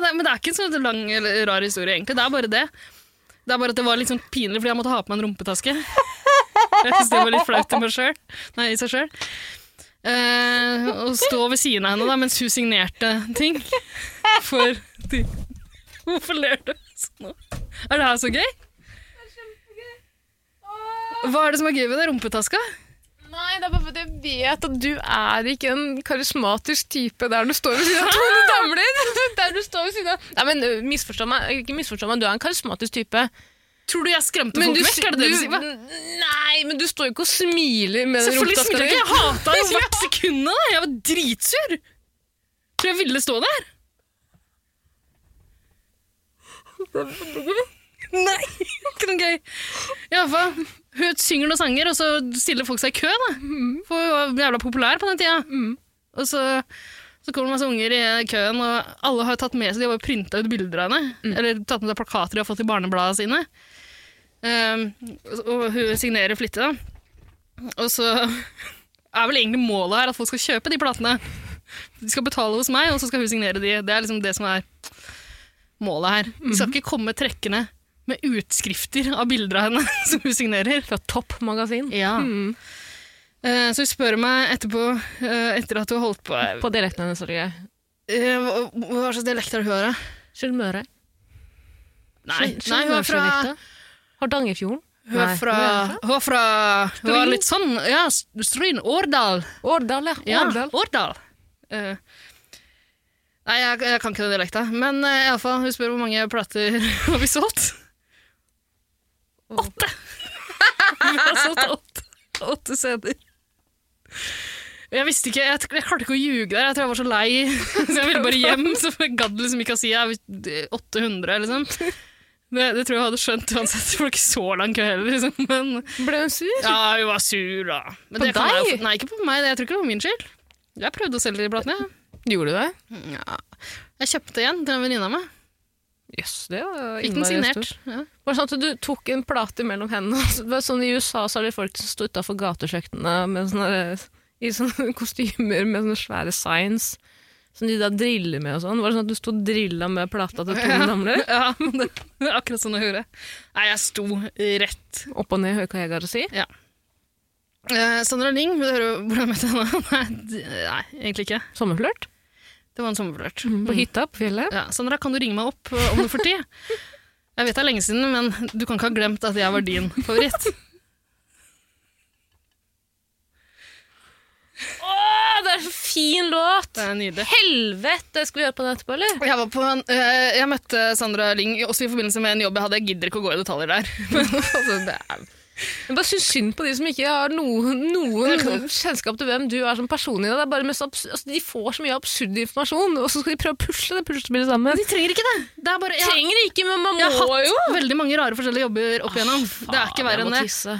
S2: det, men det er ikke en så lang eller rar historie, egentlig. Det er bare det. Det er bare at det var litt sånn pinlig, fordi jeg måtte ha på meg en rumpetaske. Jeg synes det var litt flaut i meg selv. Nei, i seg sjøl. Eh, og stå ved siden av henne da, mens hun signerte ting for de. Hvorfor ler du sånn nå? Er det her så gøy? Det er kjempegøy. Hva er det som er gøy ved det? Rumpetaska?
S4: Nei, det er bare fordi jeg vet at du er ikke en karismatisk type der du står ved siden av Tone Damli. Der du står ved siden av Nei, men øh, misforstå meg, ikke misforstå meg, du er en karismatisk type.
S2: Tror du jeg skremte folk
S4: du,
S2: vekk? Er det det du sier? Hva?
S4: Nei, men du står jo ikke og smiler med den
S2: Selvfølgelig
S4: rumpetaska di.
S2: smilte jeg ikke. Jeg hata jo hvert sekund av det. Jeg var dritsur. Tror jeg ville stå der. Nei, ikke noe gøy. I alle fall, hun synger noen sanger, og så stiller folk seg i kø. da.
S4: Mm.
S2: For hun var jævla populær på den tida. Og så, så kommer det masse unger i køen, og alle har tatt med seg, de har bare printa ut bilder av henne.
S4: Mm.
S2: Eller tatt med seg plakater de har fått i barnebladene sine. Um, og hun signerer flittig, da. Og så er vel egentlig målet her at folk skal kjøpe de platene. De skal betale hos meg, og så skal hun signere de. Det er liksom det som er målet her. De skal ikke komme trekkende med utskrifter av bilder av henne som hun signerer.
S3: Fra Topp magasin.
S2: Ja. Så hun spør meg etterpå, eh, etter at hun har holdt på eh,
S3: På dialekten hennes, sorry. jeg.
S2: Hva hva slags dialekt er det hun har? da?
S3: Sunnmøre. Sunn-
S2: Nei, nei, hun er fra
S3: Sunnmørsdialekta. Hardangerfjorden.
S2: Hun er
S3: Nei.
S2: fra, hun er fra Hun er
S3: Stryn.
S2: litt sånn Ja, Stryn. Årdal.
S3: Årdal, ja.
S2: Ja,
S3: Årdal.
S2: Årdal. Eh, nei, jeg, jeg kan ikke den dialekta. Men uh, iallfall, hun spør hvor mange plater har vi solgt. Åtte! vi har solgt åtte, åtte CD-er. Jeg visste ikke, jeg, jeg klarte ikke å ljuge der. Jeg tror jeg var så lei. Så jeg ville bare hjem. Så jeg gadd liksom ikke å si jeg er 800, liksom. Det, det tror jeg hadde skjønt uansett. Det var ikke så lang kø heller, liksom. Men
S3: Ble hun sur?
S2: ja, hun var sur, da. Men
S3: På
S2: det kan jeg jo-
S3: deg?
S2: Nei, ikke på meg. Jeg tror ikke det var min skyld. Jeg prøvde å selge de platene. jeg.
S3: Gjorde du det?
S2: Ja. Jeg kjøpte igjen til en venninne av meg.
S3: Jøss, det var
S2: Fikk den
S3: innmari
S2: signert.
S3: stort.
S2: Ja.
S3: Var det sånn at du tok en plate mellom hendene? og så- det var Sånn I USA så er det folk som står utafor gatekjøkkenene med sånne, i sånne kostymer med sånne svære signs. Som de da driller med og sånn. Var det sånn at du sto og drilla med plata til Tone Damli?
S2: Ja, men det, det er akkurat sånn jeg gjorde. Nei, jeg sto rett.
S3: Opp og ned Høyka Hegar og si?
S2: Eh, Sandra Ling, vil du høre hvordan jeg møtte henne? Nei, d- nei, egentlig ikke.
S3: Sommerflørt?
S2: Det var en sommerflørt.
S3: På hytta på fjellet?
S2: Ja, Sandra, kan du ringe meg opp eh, om du får tid? Jeg vet det er lenge siden, men du kan ikke ha glemt at jeg var din favoritt.
S3: Å, det er så fin låt!
S2: Det er nydelig.
S3: Helvete! Skal vi høre på den etterpå, eller?
S2: Jeg, var på en, eh, jeg møtte Sandra Ling også i forbindelse med en jobb jeg hadde. Jeg gidder ikke å gå i detaljer der. Men, altså, det er,
S3: Jeg bare syns synd på de som ikke har noen, noen kjennskap til hvem du er som person. i det. Det er bare mest abs- altså, de får så mye absurd informasjon, og så skal de prøve å pusle det puslespillet sammen.
S2: de trenger ikke det. det er bare, jeg,
S3: Trenger det ikke, men man
S2: jeg har
S3: må
S2: hatt
S3: jo! Ah,
S2: veldig mange rare forskjellige jobber opp igjennom. det er ikke verre enn det.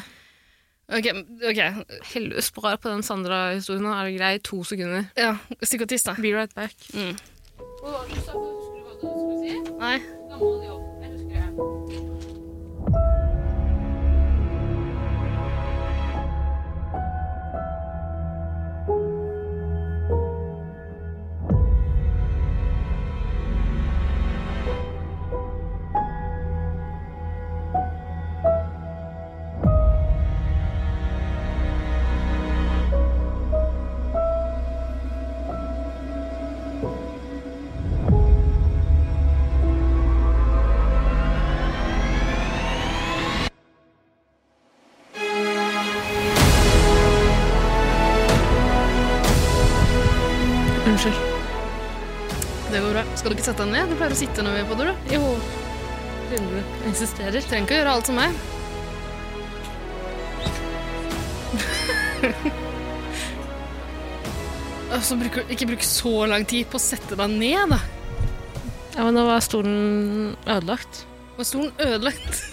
S2: Ok, ok.
S3: Helvete, spar på den Sandra-historien. nå. Er det grei? To sekunder.
S2: Ja, stikk og tiss, da.
S3: Be right back.
S2: Mm. Nei.
S3: Unnskyld.
S2: Det går bra. Skal du ikke sette deg ned? Du pleier å sitte når vi er på do. du.
S3: Jo. Jeg insisterer.
S2: Du trenger ikke å gjøre alt som meg. Altså, bruker, ikke bruk så lang tid på å sette deg ned, da.
S3: Ja, men nå var stolen ødelagt.
S2: Var stolen ødelagt?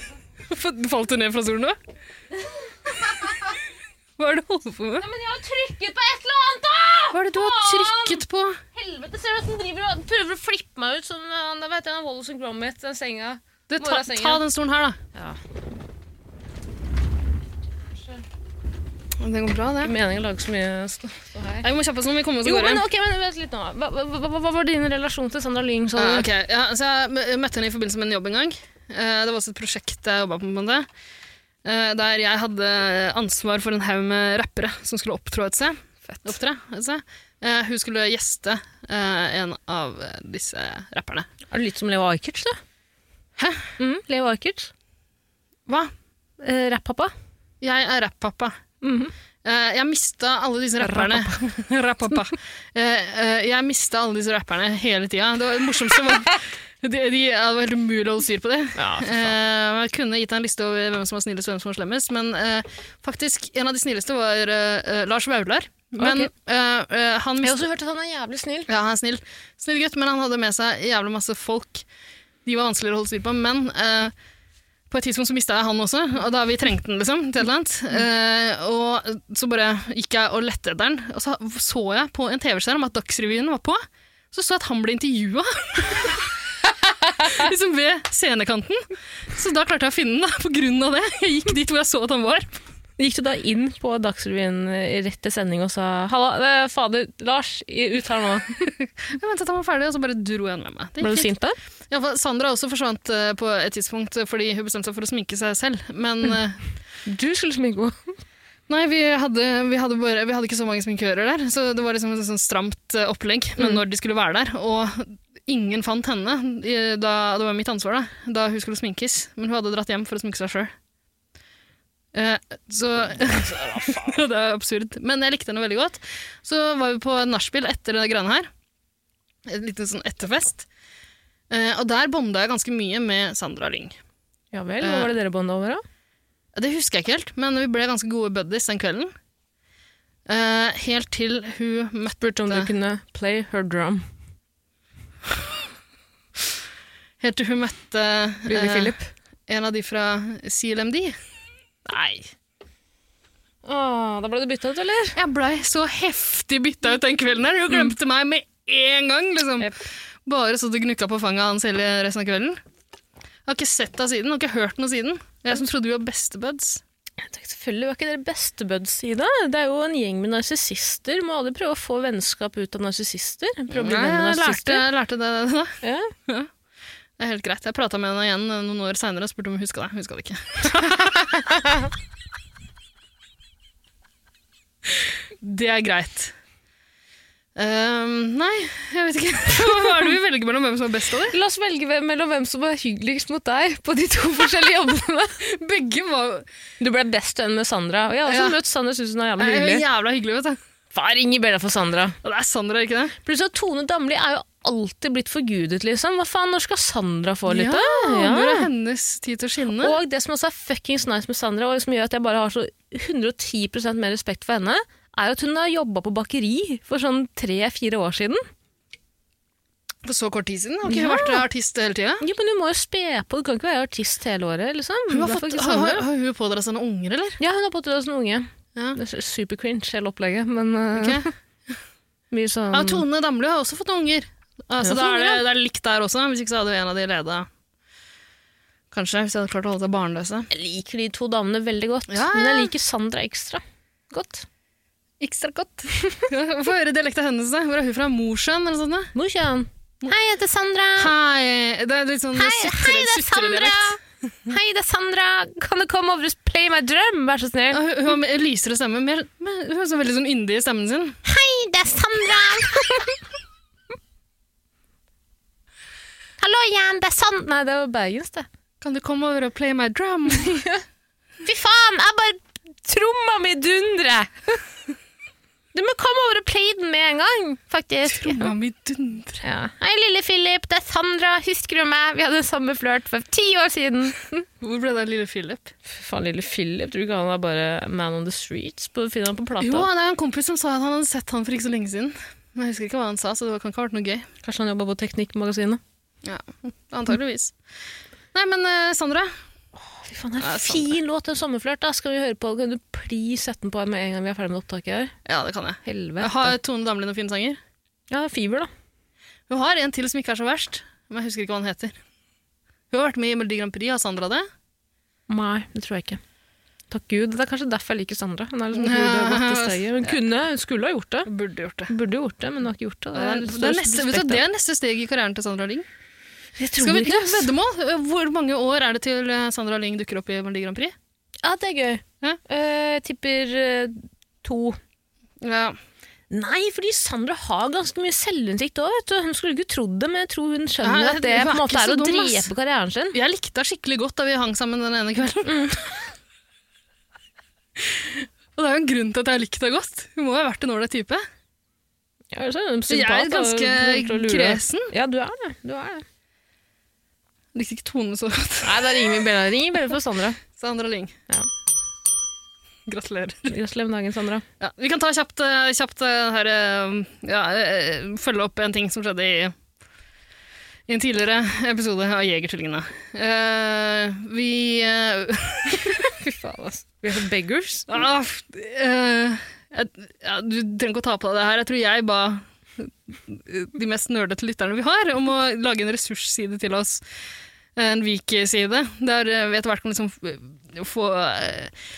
S2: Falt du ned fra stolen nå? Hva er det du holder på med?
S1: Men jeg har trykket på et eller annet, da!
S2: Hva er det du har trykket på?
S1: Helvete, ser du at den driver og prøver å flippe meg ut som
S3: eh,
S1: han der, vet du, han Wallace og Gromit, den senga.
S2: Du, ta, ta den stolen her, da.
S3: Ja.
S2: Det går bra, det.
S3: Ikke meningen å lage så mye stå stå her.
S2: Nei, Vi må kjappe oss nå, vi kommer oss av
S3: Jo,
S2: gårde.
S3: men ok, men vent litt nå. Hva, hva, hva, hva var din relasjon til Sandra Lyng? sa
S2: Ah,
S3: du?
S2: ok. ja, så jeg mø- møtte henne i forbindelse med en jobb en gang. Eh, Det var også et prosjekt jeg jobba på. på en måte. Eh, Der jeg hadde ansvar for en haug med rappere som skulle opptrå et sted. Opptre, et sted. Eh, Hun skulle gjeste eh, en av disse rapperne.
S3: Er det litt som Leo Ajkic, da?
S2: Hæ?
S3: Mm, Leo Ajkic.
S2: Hva?
S3: Eh, Rappappa.
S2: Jeg er rappappa.
S3: Mhm.
S2: Eh, Jeg mista alle disse rapperne. Rappappa. Eh, eh, Jeg mista alle disse rapperne hele tida. Det var det morsomste var de, de, Det var helt umulig å holde styr på dem.
S5: Ja, for faen.
S2: Eh, jeg kunne gitt deg en liste over hvem som var snillest og hvem som var slemmest, men eh, faktisk, en av de snilleste var eh, eh, Lars Vaular. Men
S3: Ok.
S2: eh, eh, han
S3: Jeg har
S2: mist-
S3: også hørt at han er jævlig snill.
S2: Ja, han er snill. Snill gutt, men han hadde med seg jævlig masse folk. De var vanskeligere å holde styr på, men eh, på et tidspunkt så mista jeg han også, og da vi trengte den, liksom, til et eller annet. Eh, og så bare gikk jeg og lette etter den, og så så jeg på en TV-skjerm at Dagsrevyen var på. Så så jeg at han ble intervjua. liksom ved scenekanten. Så da klarte jeg å finne den, da, på grunn av det. Jeg gikk dit hvor jeg så at han var.
S3: Gikk du da inn på Dagsrevyen eh, rett til sending og sa Halla, eh, fader, Lars, i- ut her nå.
S2: Jeg ventet til han var ferdig, og så bare dro jeg han med meg. Det gikk
S3: Ble
S2: fint.
S3: du sint der?
S2: Ja, for Sandra også forsvant eh, på et tidspunkt eh, fordi hun bestemte seg for å sminke seg selv. Men eh,
S3: Du skulle sminke henne.
S2: nei, vi hadde, vi, hadde bare, vi hadde ikke så mange sminkører der, så det var liksom et sånn stramt eh, opplegg med når de skulle være der. Og ingen fant henne. eh, Da, det var mitt ansvar, da, da hun skulle sminkes. Men hun hadde dratt hjem for å sminke seg sjøl. så Det er absurd. Men jeg likte henne veldig godt. Så var vi på nachspiel etter det greiene her. En liten sånn etterfest. Eh, og der bonda jeg ganske mye med Sandra Lyng.
S3: Ja vel, hva var det dere bånda over, da?
S2: Det husker jeg ikke helt, men vi ble ganske gode buddies den kvelden. Eh, helt til hun møtte
S3: Spurte om du kunne play her drum.
S2: Helt til hun møtte
S6: Lille
S2: eh,
S6: Philip.
S2: en av de fra CLMD. Nei.
S3: Åh, da ble du bytta ut, eller?
S2: Jeg blei så heftig bytta ut den kvelden her. Hun glemte meg med en gang. liksom.
S3: Jep.
S2: Bare så det gnukka på fanget hans hele resten av kvelden. Jeg har ikke sett deg siden, og ikke hørt noe siden. Jeg som trodde vi var bestebuds.
S3: Jeg tenkte, Selvfølgelig var ikke dere bestebuds, Ida. Det er jo en gjeng med narsissister. Må aldri prøve å få vennskap ut av narsissister. Prøve å bli
S2: Nei,
S3: venn med
S2: jeg lærte,
S3: narsissister.
S2: jeg lærte det da.
S3: Ja.
S2: Det er helt greit. Jeg prata med henne igjen eh, noen år seinere og spurte om hun huska det. Hun huska det ikke. det er greit. Ehm, nei, jeg vet ikke. Hva er det vi velger mellom hvem som er best av det?
S3: La oss velge hvem- mellom hvem som var hyggeligst mot deg på de to forskjellige jobbene.
S2: Begge var
S3: Du ble best venn med Sandra. Og jeg har også
S2: Ja.
S3: møtt Sandra, syns hun er jævla
S2: Nei, hun er
S3: hyggelig.
S2: jævla hyggelig, vet du.
S3: Far, ring i bjella for Sandra.
S2: Og det er Sandra, ikke det?
S3: Plutselig at Tone Damli er jo alltid blitt forgudet, liksom. Hva faen, når skal Sandra få litt, da?
S2: ja. Når er hennes tid til å skinne?
S3: Og det som også er fuckings nice med Sandra, og som gjør at jeg bare har så 110 mer respekt for henne, er jo at hun har jobba på bakeri for sånn tre-fire år siden.
S2: For så kort tid siden? Har ikke hun vært artist hele tida?
S3: Jo, men hun må jo spe på, du kan ikke være artist hele året, liksom.
S2: Hun har,
S3: Derfor
S2: fått,
S3: ikke
S2: har,
S3: Sandra.
S2: har, har hun pådratt seg noen unger, eller?
S3: Ja, hun har fått det som unge.
S2: Ja.
S3: Det er super cringe, hele opplegget, men eh,
S2: Ok.
S3: mye sånn
S2: Ja, Tone Damli har også fått noen unger.
S3: Hun har fått
S2: Altså, da er Mm. det,
S3: unger,
S2: det er likt der også, hvis ikke så hadde jo en av de leda. Kanskje, hvis jeg hadde klart å holde seg barnløse.
S3: Jeg liker de to damene veldig godt,
S2: Ja, ja.
S3: men jeg liker Sandra ekstra godt.
S2: Ekstra godt. Få høre dialekta hennes. da. Hvor er hun fra? Mosjøen, eller noe sånt? da?
S3: Morsan! Hei, jeg heter Sandra!
S2: Hei! Det er litt sånn
S3: Hei, hei, det er Sandra! Hei, det er Sandra! Kan du komme over og play my drum, vær så snill?
S2: Hun hun har med- lysere stemme. Mer, men hun er så veldig sånn yndig i stemmen sin.
S3: Hei, det er Sandra! Hallo igjen, det er Sand... Nei, det var Bergens, det.
S2: Kan du komme over og play my drum?
S3: Fy faen, jeg bare Tromma mi dundrer! Du må komme over og play den med en gang, faktisk.
S2: Tromma mi dundrer.
S3: Ja. Hei, lille Philip, det er Sandra. Husker du meg? Vi hadde samme flørt for ti år siden.
S2: Hvor ble det av lille Philip?
S3: Faen, lille Philip, tror du ikke han er bare man on the streets? På, finner han på plata?
S2: Jo, det er en kompis som sa at han hadde sett han for ikke så lenge siden. Men jeg husker ikke hva han sa, så det kan ikke ha vært noe gøy.
S3: Kanskje han jobber på Teknikkmagasinet?
S2: Ja, antageligvis. Nei, men eh, Sandra,
S3: Fy faen, det
S2: Ja,
S3: er
S2: det er
S3: en
S2: sant,
S3: fin låt, en sommerflørt. da. Skal vi høre på? Kan du please sette den på med en gang vi er ferdig med opptaket her?
S2: Ja, det kan jeg.
S3: Helvete.
S2: Har Tone Damli noen fine sanger?
S3: Ja, Fiber, da.
S2: Hun har en til som ikke er så verst, men jeg husker ikke hva han heter. Hun har vært med i Melodi Grand Prix, har Sandra det?
S3: Nei, det tror jeg ikke. Takk Gud. Det er kanskje derfor jeg liker Sandra. Hun, er liksom god, i å gå til steget. hun kunne, hun skulle ha gjort det.
S2: Hun burde gjort det.
S3: Hun burde gjort det, men hun har ikke gjort det.
S2: Det er,
S3: litt
S2: det, er
S3: stor
S2: neste, vet
S3: respekt,
S2: du, det er neste steg i karrieren til Sandra Lyng.
S3: da. Jeg tror
S2: Skal vi
S3: ikke det. ass.
S2: veddemål? Eh, Hvor mange år er det til eh, Sandra Lyng dukker opp i Melodi Grand Prix?
S3: Ja, det er gøy.
S2: Ja.
S3: Eh, Jeg tipper eh, to.
S2: Ja.
S3: Nei, fordi Sandra har ganske mye selvinnsikt òg. Hun skulle ikke trodd det, men jeg tror hun skjønner
S2: Nei,
S3: at det
S2: hun er
S3: på en måte
S2: ikke
S3: er
S2: så
S3: å
S2: dum, ass.
S3: drepe karrieren sin.
S2: Jeg likte henne skikkelig godt da vi hang sammen den ene kvelden.
S3: Mm.
S2: Og det er jo en grunn til at jeg har likt henne godt. Hun må jo ha vært en ålreit type.
S3: Ja, så er hun
S2: Så jeg
S3: psykopat,
S2: er
S3: da. Hun prøver å
S2: ganske
S3: lure.
S2: kresen.
S3: Ja, du er det. Du er det.
S2: Likte ikke Tone så godt.
S3: Nei, da ringer vi Bella. Ring Bella for Sandra.
S2: Sandra Lyng.
S3: Ja.
S2: Gratulerer.
S3: Gratulerer med dagen, Sandra.
S2: Ja, vi kan ta kjapt, eh, kjapt eh, her, eh, ja, eh, følge opp en ting som skjedde i, i en tidligere episode av Jegertvillingene. Eh, vi eh,
S3: Fy faen, altså. Vi er så beggars.
S2: ah, eh, jeg, ja, Du trenger ikke å ta på deg det her. Jeg tror jeg ba de mest nerdete lytterne vi har, om å lage en ressursside til oss. En Vik-side, der eh, vi etter hvert kan liksom f- få eh,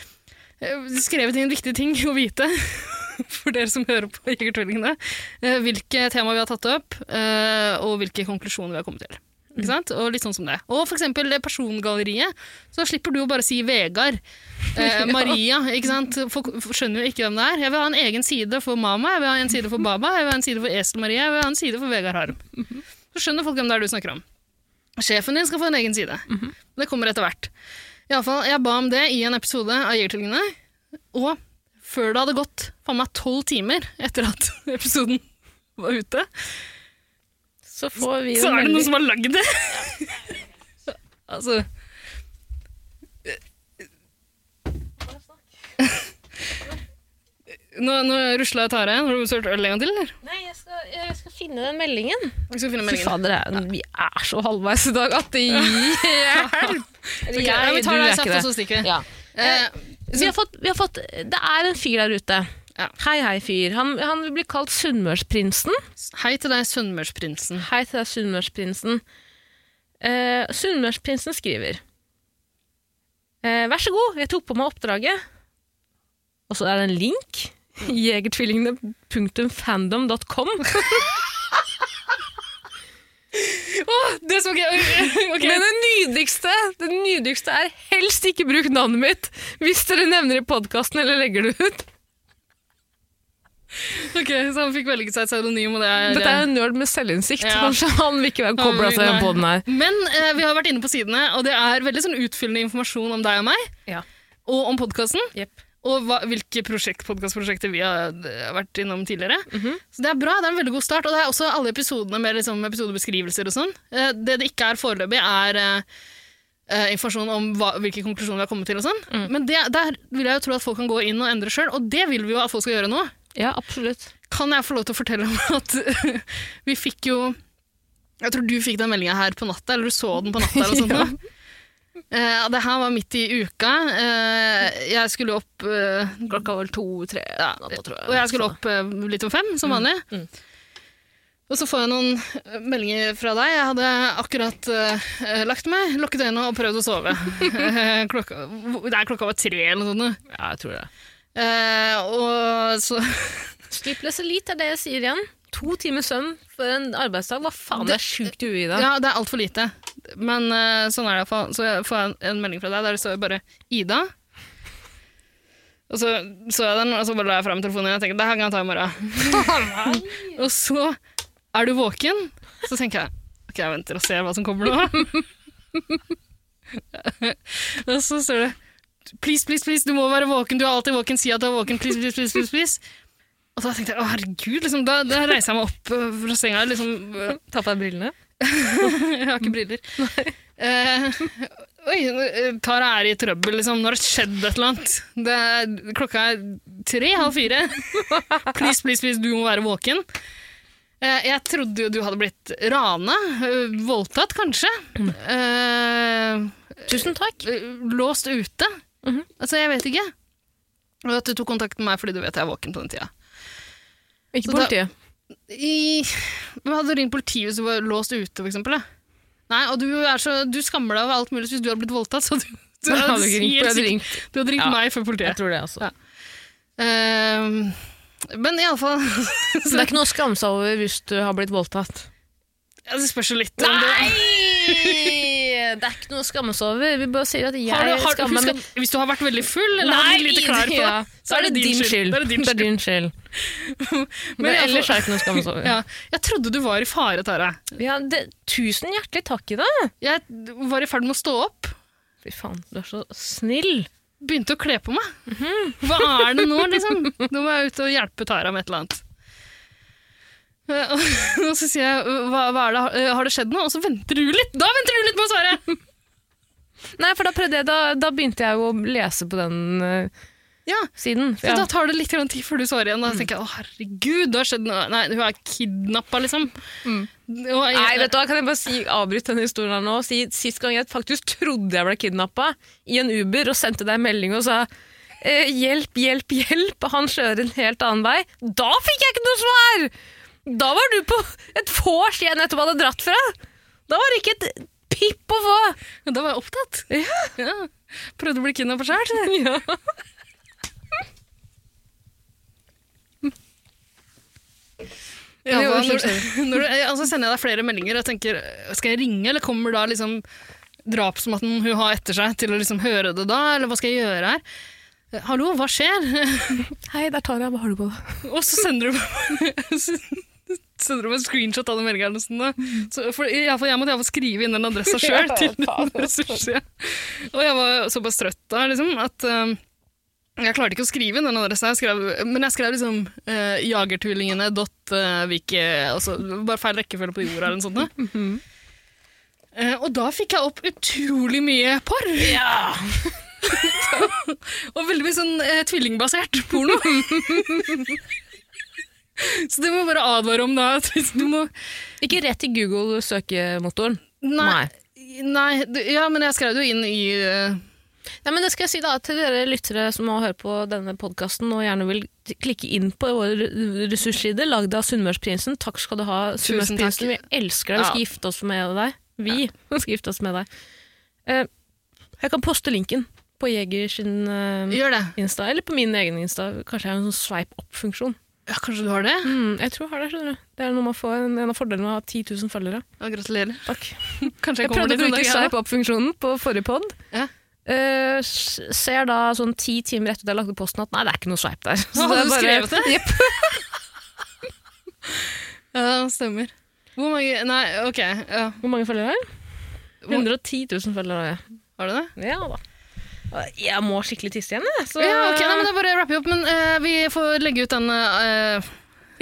S2: eh, skrevet inn viktige ting å vite for dere som hører på Jegertvillingene. eh, Hvilke tema vi har tatt opp, eh, og hvilke konklusjoner vi har kommet til. Ikke sant? Og litt sånn som det. Og for eksempel eh, persongalleriet, så slipper du å bare si Vegard. Eh, Maria, ikke sant? Folk skjønner jo ikke hvem det er. Jeg vil ha en egen side for Mama, jeg vil ha en side for Baba, jeg vil ha en side for Esel-Maria, jeg vil ha en side for Vegard Harm. Så skjønner folk hvem det er du snakker om. Sjefen din skal få en egen side. Det kommer etter hvert. I alle fall, jeg ba om det i en episode av Jegertvillingene, og før det hadde gått faen meg tolv timer etter at episoden var ute,
S3: Så får vi jo
S2: så er det
S3: melding.
S2: noen som har lagd det! altså Nå, nå rusla Tare. Har du besøkt øl en gang til, eller?
S3: Nei, jeg skal, jeg skal finne den meldingen.
S2: Vi skal finne
S3: Fy
S2: meldingen.
S3: fader, jeg- vi er så halvveis i dag at det hjelper!
S2: Ok, ja, vi tar deg kjapt, og så stikker vi.
S3: Ja.
S2: Eh,
S3: Vi har fått, vi har fått, det er en fyr der ute.
S2: Ja.
S3: Hei, hei, fyr. Han, han blir kalt Sunnmørsprinsen.
S2: hei til deg, Sunnmørsprinsen.
S3: Hei til deg, Sunnmørsprinsen. Eh, Sunnmørsprinsen skriver eh, Vær så god, jeg tok på meg oppdraget. Og så er det en link.
S2: Mm.
S3: Jegertvillingene.fandom.com.
S2: Det er så gøy! Ok.
S3: Men det nydeligste, det nydeligste er helst ikke bruk navnet mitt hvis dere nevner i podkasten eller legger det ut.
S2: Ok, så han fikk velge seg et pseudonym, og det er
S3: Dette er en nerd med selvinnsikt.
S2: Ja.
S3: Kanskje han vil ikke være kobla til
S2: Nei.
S3: den poden her.
S2: Men eh, vi har vært inne på sidene, og det er veldig sånn utfyllende informasjon om deg og meg,
S3: Ja.
S2: og om podkasten,
S3: Jepp.
S2: og hva, hvilke prosjekt, podkastprosjekter vi har eh, vært innom tidligere. Så det er bra, det er en veldig god start, og det er også alle episodene med liksom, episodebeskrivelser og sånn. Eh, det det ikke er foreløpig, er eh, eh, informasjon om hva, hvilke konklusjoner vi har kommet til og sånn. Men det, der vil jeg jo tro at folk kan gå inn og endre sjøl, og det vil vi jo at folk skal gjøre nå.
S3: Ja, absolutt.
S2: Kan jeg få lov til å fortelle om at vi fikk jo Jeg tror du fikk den meldinga her på natta, eller du så den på natta. eller sånt,
S3: Ja.
S2: noe. Eh, det her var midt i uka. Eh, jeg skulle opp eh,
S3: Klokka var to-tre.
S2: ja, Og jeg skulle opp eh, litt om fem, som vanlig.
S3: mm.
S2: Og så får jeg noen eh, meldinger fra deg. Jeg hadde akkurat eh, lagt meg, lukket øynene og prøvd å sove. Eh, klokka, der klokka var tre eller noe sånt.
S3: Ja, jeg tror det.
S2: Eh, og så
S3: Sleepless Elite er det jeg sier igjen. To timer søvn for en arbeidsdag. Hva faen, det er sjukt ui i dag.
S2: Ja, det er altfor lite. Men eh, sånn er det iallfall. Så jeg får en, en melding fra deg der det står bare 'Ida'. Og så så jeg den, og så bare la jeg fram telefonen igjen og tenkte 'det her kan jeg ta i morgen'. og så er du våken, så tenker jeg 'ok, jeg venter og ser hva som kommer nå'. og så står det 'please, please, please, du må være våken, du er alltid våken, si at du er våken', please, please, please, please'. please. Og da tenkte jeg 'å herregud', liksom, da, da reiser jeg meg opp eh, fra senga. liksom... eh,
S3: Ta på deg brillene.
S2: jeg har ikke briller. Eh, oi, nå- Tara er i trøbbel, liksom. Nå har det skjedd et eller annet. Det er, klokka er tre, halv fire. Please, please, please, du må være våken. Eh, jeg trodde jo du hadde blitt rana. eh, voldtatt, kanskje. Eh,
S3: Tusen takk.
S2: låst ute. Altså, jeg vet ikke. Og at du tok kontakt med meg fordi du vet jeg er våken på den tida.
S3: Ikke
S2: Så da-
S3: politiet.
S2: I, men hadde du ringt politiet hvis du var låst ute, for eksempel? da? Nei, og du, er så, du skammer deg over alt mulig så hvis du har blitt voldtatt. Så du, du,
S3: Da
S2: hadde
S3: hadde du ikke ringt,
S2: helt
S3: for jeg hadde
S2: sikkert-
S3: ringt.
S2: du hadde ringt
S3: Ja.
S2: meg før
S3: Jeg
S2: politiet.
S3: tror det, altså.
S2: Ja. Ehm, men iallfall
S3: Så det er ikke noe å skamme seg over hvis du har blitt voldtatt?
S2: Det spørs jo litt. om
S3: Nei! Det er ikke noe å skamme seg over. Vi bare sier at
S2: Du,
S3: jeg
S2: har du, har,
S3: skammer
S2: husk
S3: meg.
S2: at hvis du har vært veldig full eller har blitt lite klar på
S3: ja. så er det din skyld.
S2: Da er det din skyld.
S3: skyld.
S2: Men
S3: Men
S2: i alle
S3: ellers er
S2: fall-
S3: det ikke noe å skamme seg over.
S2: ja, jeg trodde du var i fare, Tara.
S3: Ja, det, tusen hjertelig takk i dag.
S2: Jeg var i ferd med å stå opp.
S3: Fy faen, du er så snill.
S2: Begynte å kle på meg.
S3: Mhm.
S2: Hva er det nå, liksom? Nå må jeg ut og hjelpe Tara med et eller annet. Eh, Og så sier jeg hva, hva er det, eh, har det skjedd noe? Og så venter du litt! Da venter du litt med å svare!
S3: Nei, for da prøvde jeg, da, da begynte jeg jo å lese på den eh,
S2: Ja,
S3: siden.
S2: Så da tar det litt grann tid før du svarer igjen.
S3: Mm.
S2: Da tenker jeg å herregud, det har skjedd noe. Nei, hun er kidnappa, liksom. Og jeg-
S3: Mm. Nei, vet du hva, kan jeg bare si, avbryte denne historien her nå og si sist gang jeg faktisk trodde jeg ble kidnappa i en Uber og sendte deg en melding og sa eh, hjelp, hjelp, hjelp, han kjører en helt annen vei. Da fikk jeg ikke noe svar! Da var du på et vors jeg nettopp hadde dratt fra. Da var det ikke et pip å få.
S2: Da var jeg opptatt. Ja. Prøvde å bli kidnappa sjøl.
S3: Ja.
S2: Ja,
S3: Det
S2: hva,
S3: var
S2: når,
S3: så
S2: når du, og så sender jeg deg flere meldinger og tenker eh, Skal jeg ringe, eller kommer da liksom drapsmannen hun har etter seg, til å liksom høre det da? Eller hva skal jeg gjøre her? Eh, Hallo, hva skjer?
S3: Hei, der tar jeg, hva har du på deg?
S2: Og så sender du så sender du meg en screenshot av den meldinga. eller noe sånt da. Så for, i alle fall, jeg måtte i alle fall skrive inn den adressa sjøl. og jeg var såpass trøtt da liksom, at eh, jeg klarte ikke å skrive inn den adressa. Jeg skrev, men jeg skrev liksom uh, 'jagertvillingene dot eh, vike altså, Bare feil rekkefølge på jorda eller noe sånt. da. Eh, og da fikk jeg opp utrolig mye porr. og veldig mye sånn eh, tvillingbasert porno. Så det må jeg bare advare om da. at hvis Du må
S3: Ikke rett i Google-søkemotoren. Nei.
S2: Nei, du, ja, men jeg skrev det jo inn i eh,
S3: Nei, men det skal jeg si da til dere lyttere som har hørt på denne podkasten og gjerne vil t- klikke inn på våre r- ressurssider, lagd av Sunnmørsprinsen. Takk skal du ha,
S2: Tusen takk.
S3: Sunnmørsprinsen. Vi elsker deg. Vi skal gifte oss med deg. Vi skal gifte oss med deg. Eh, jeg kan poste linken på Jeger sin eh,
S2: Gjør det.
S3: Insta, eller på min egen Insta. Kanskje jeg har en sånn swipe up-funksjon.
S2: Ja, kanskje du har det?
S3: Mm, jeg tror jeg har det, skjønner du. Det er noe man får, en en av fordelene med å ha 10 000 følgere.
S2: Ja, gratulerer.
S3: Takk.
S2: Kanskje jeg,
S3: Jeg sånn
S2: kommer sånn
S3: prøvde å
S2: dit en
S3: bruke
S2: dag, jeg, da.
S3: swipe up-funksjonen på forrige pod.
S2: Ja.
S3: Eh, s- ser da sånn ti timer etter at jeg lagde posten at nei, det er ikke noe swipe der. Så det
S2: Å,
S3: er
S2: hadde du skrevet det?
S3: Jepp.
S2: Ja, stemmer. Hvor mange Nei, ok. Ja.
S3: Hvor mange følgere har jeg?
S2: Hvor-
S3: 110 000 følgere har jeg.
S2: Har du det?
S3: Ja da. Jeg må skikkelig tisse igjen, jeg. Så...
S2: Ja, ok, nei, men Da bare rapper vi opp. Men eh, vi får legge ut den eh, eh,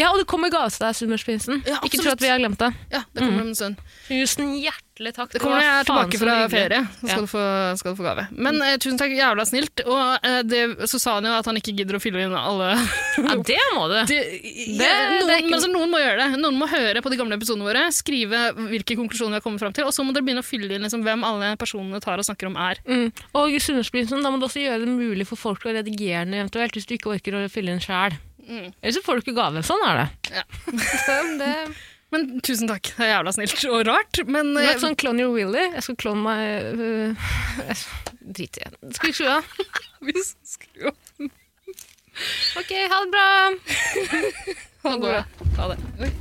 S3: Ja, og det kommer gave til deg, Summersprinsen.
S2: Ja,
S3: ikke
S2: absolutt.
S3: tro at vi har glemt det.
S2: Ja, det kommer om en stund.
S3: Tusen hjertelig takk.
S2: Det kommer når jeg er tilbake fra ferie. Så skal,
S3: Ja.
S2: du få, skal du få gave. Men eh, tusen takk, jævla snilt. Og eh, det, så sa han jo at han ikke gidder å fylle inn alle
S3: Ja, det må du.
S2: det,
S3: det
S2: noen,
S3: er ikke-
S2: men altså, noen må gjøre det. Noen må høre på de gamle episodene våre, skrive hvilke konklusjoner vi har kommet fram til, og så må dere begynne å fylle inn liksom, hvem alle personene tar og snakker om er.
S3: Mm. Og Sunnmørsprinsen, da må du også gjøre det mulig for folk å redigere den eventuelt, hvis du ikke orker å fylle inn sjæl.
S2: Mm.
S3: Ellers så får du ikke gave. Sånn er det. Sånn,
S2: Ja.
S3: det
S2: Men tusen takk. Det er jævla snilt og rart, men
S3: Du
S2: eh,
S3: vet sånn Clone Your Willy? Jeg skal klone meg øh, jeg s- Drit i det. Skal vi skru av?
S2: vi skrur opp.
S3: OK, ha det bra!
S2: Ha det. bra. Ha det. Oi.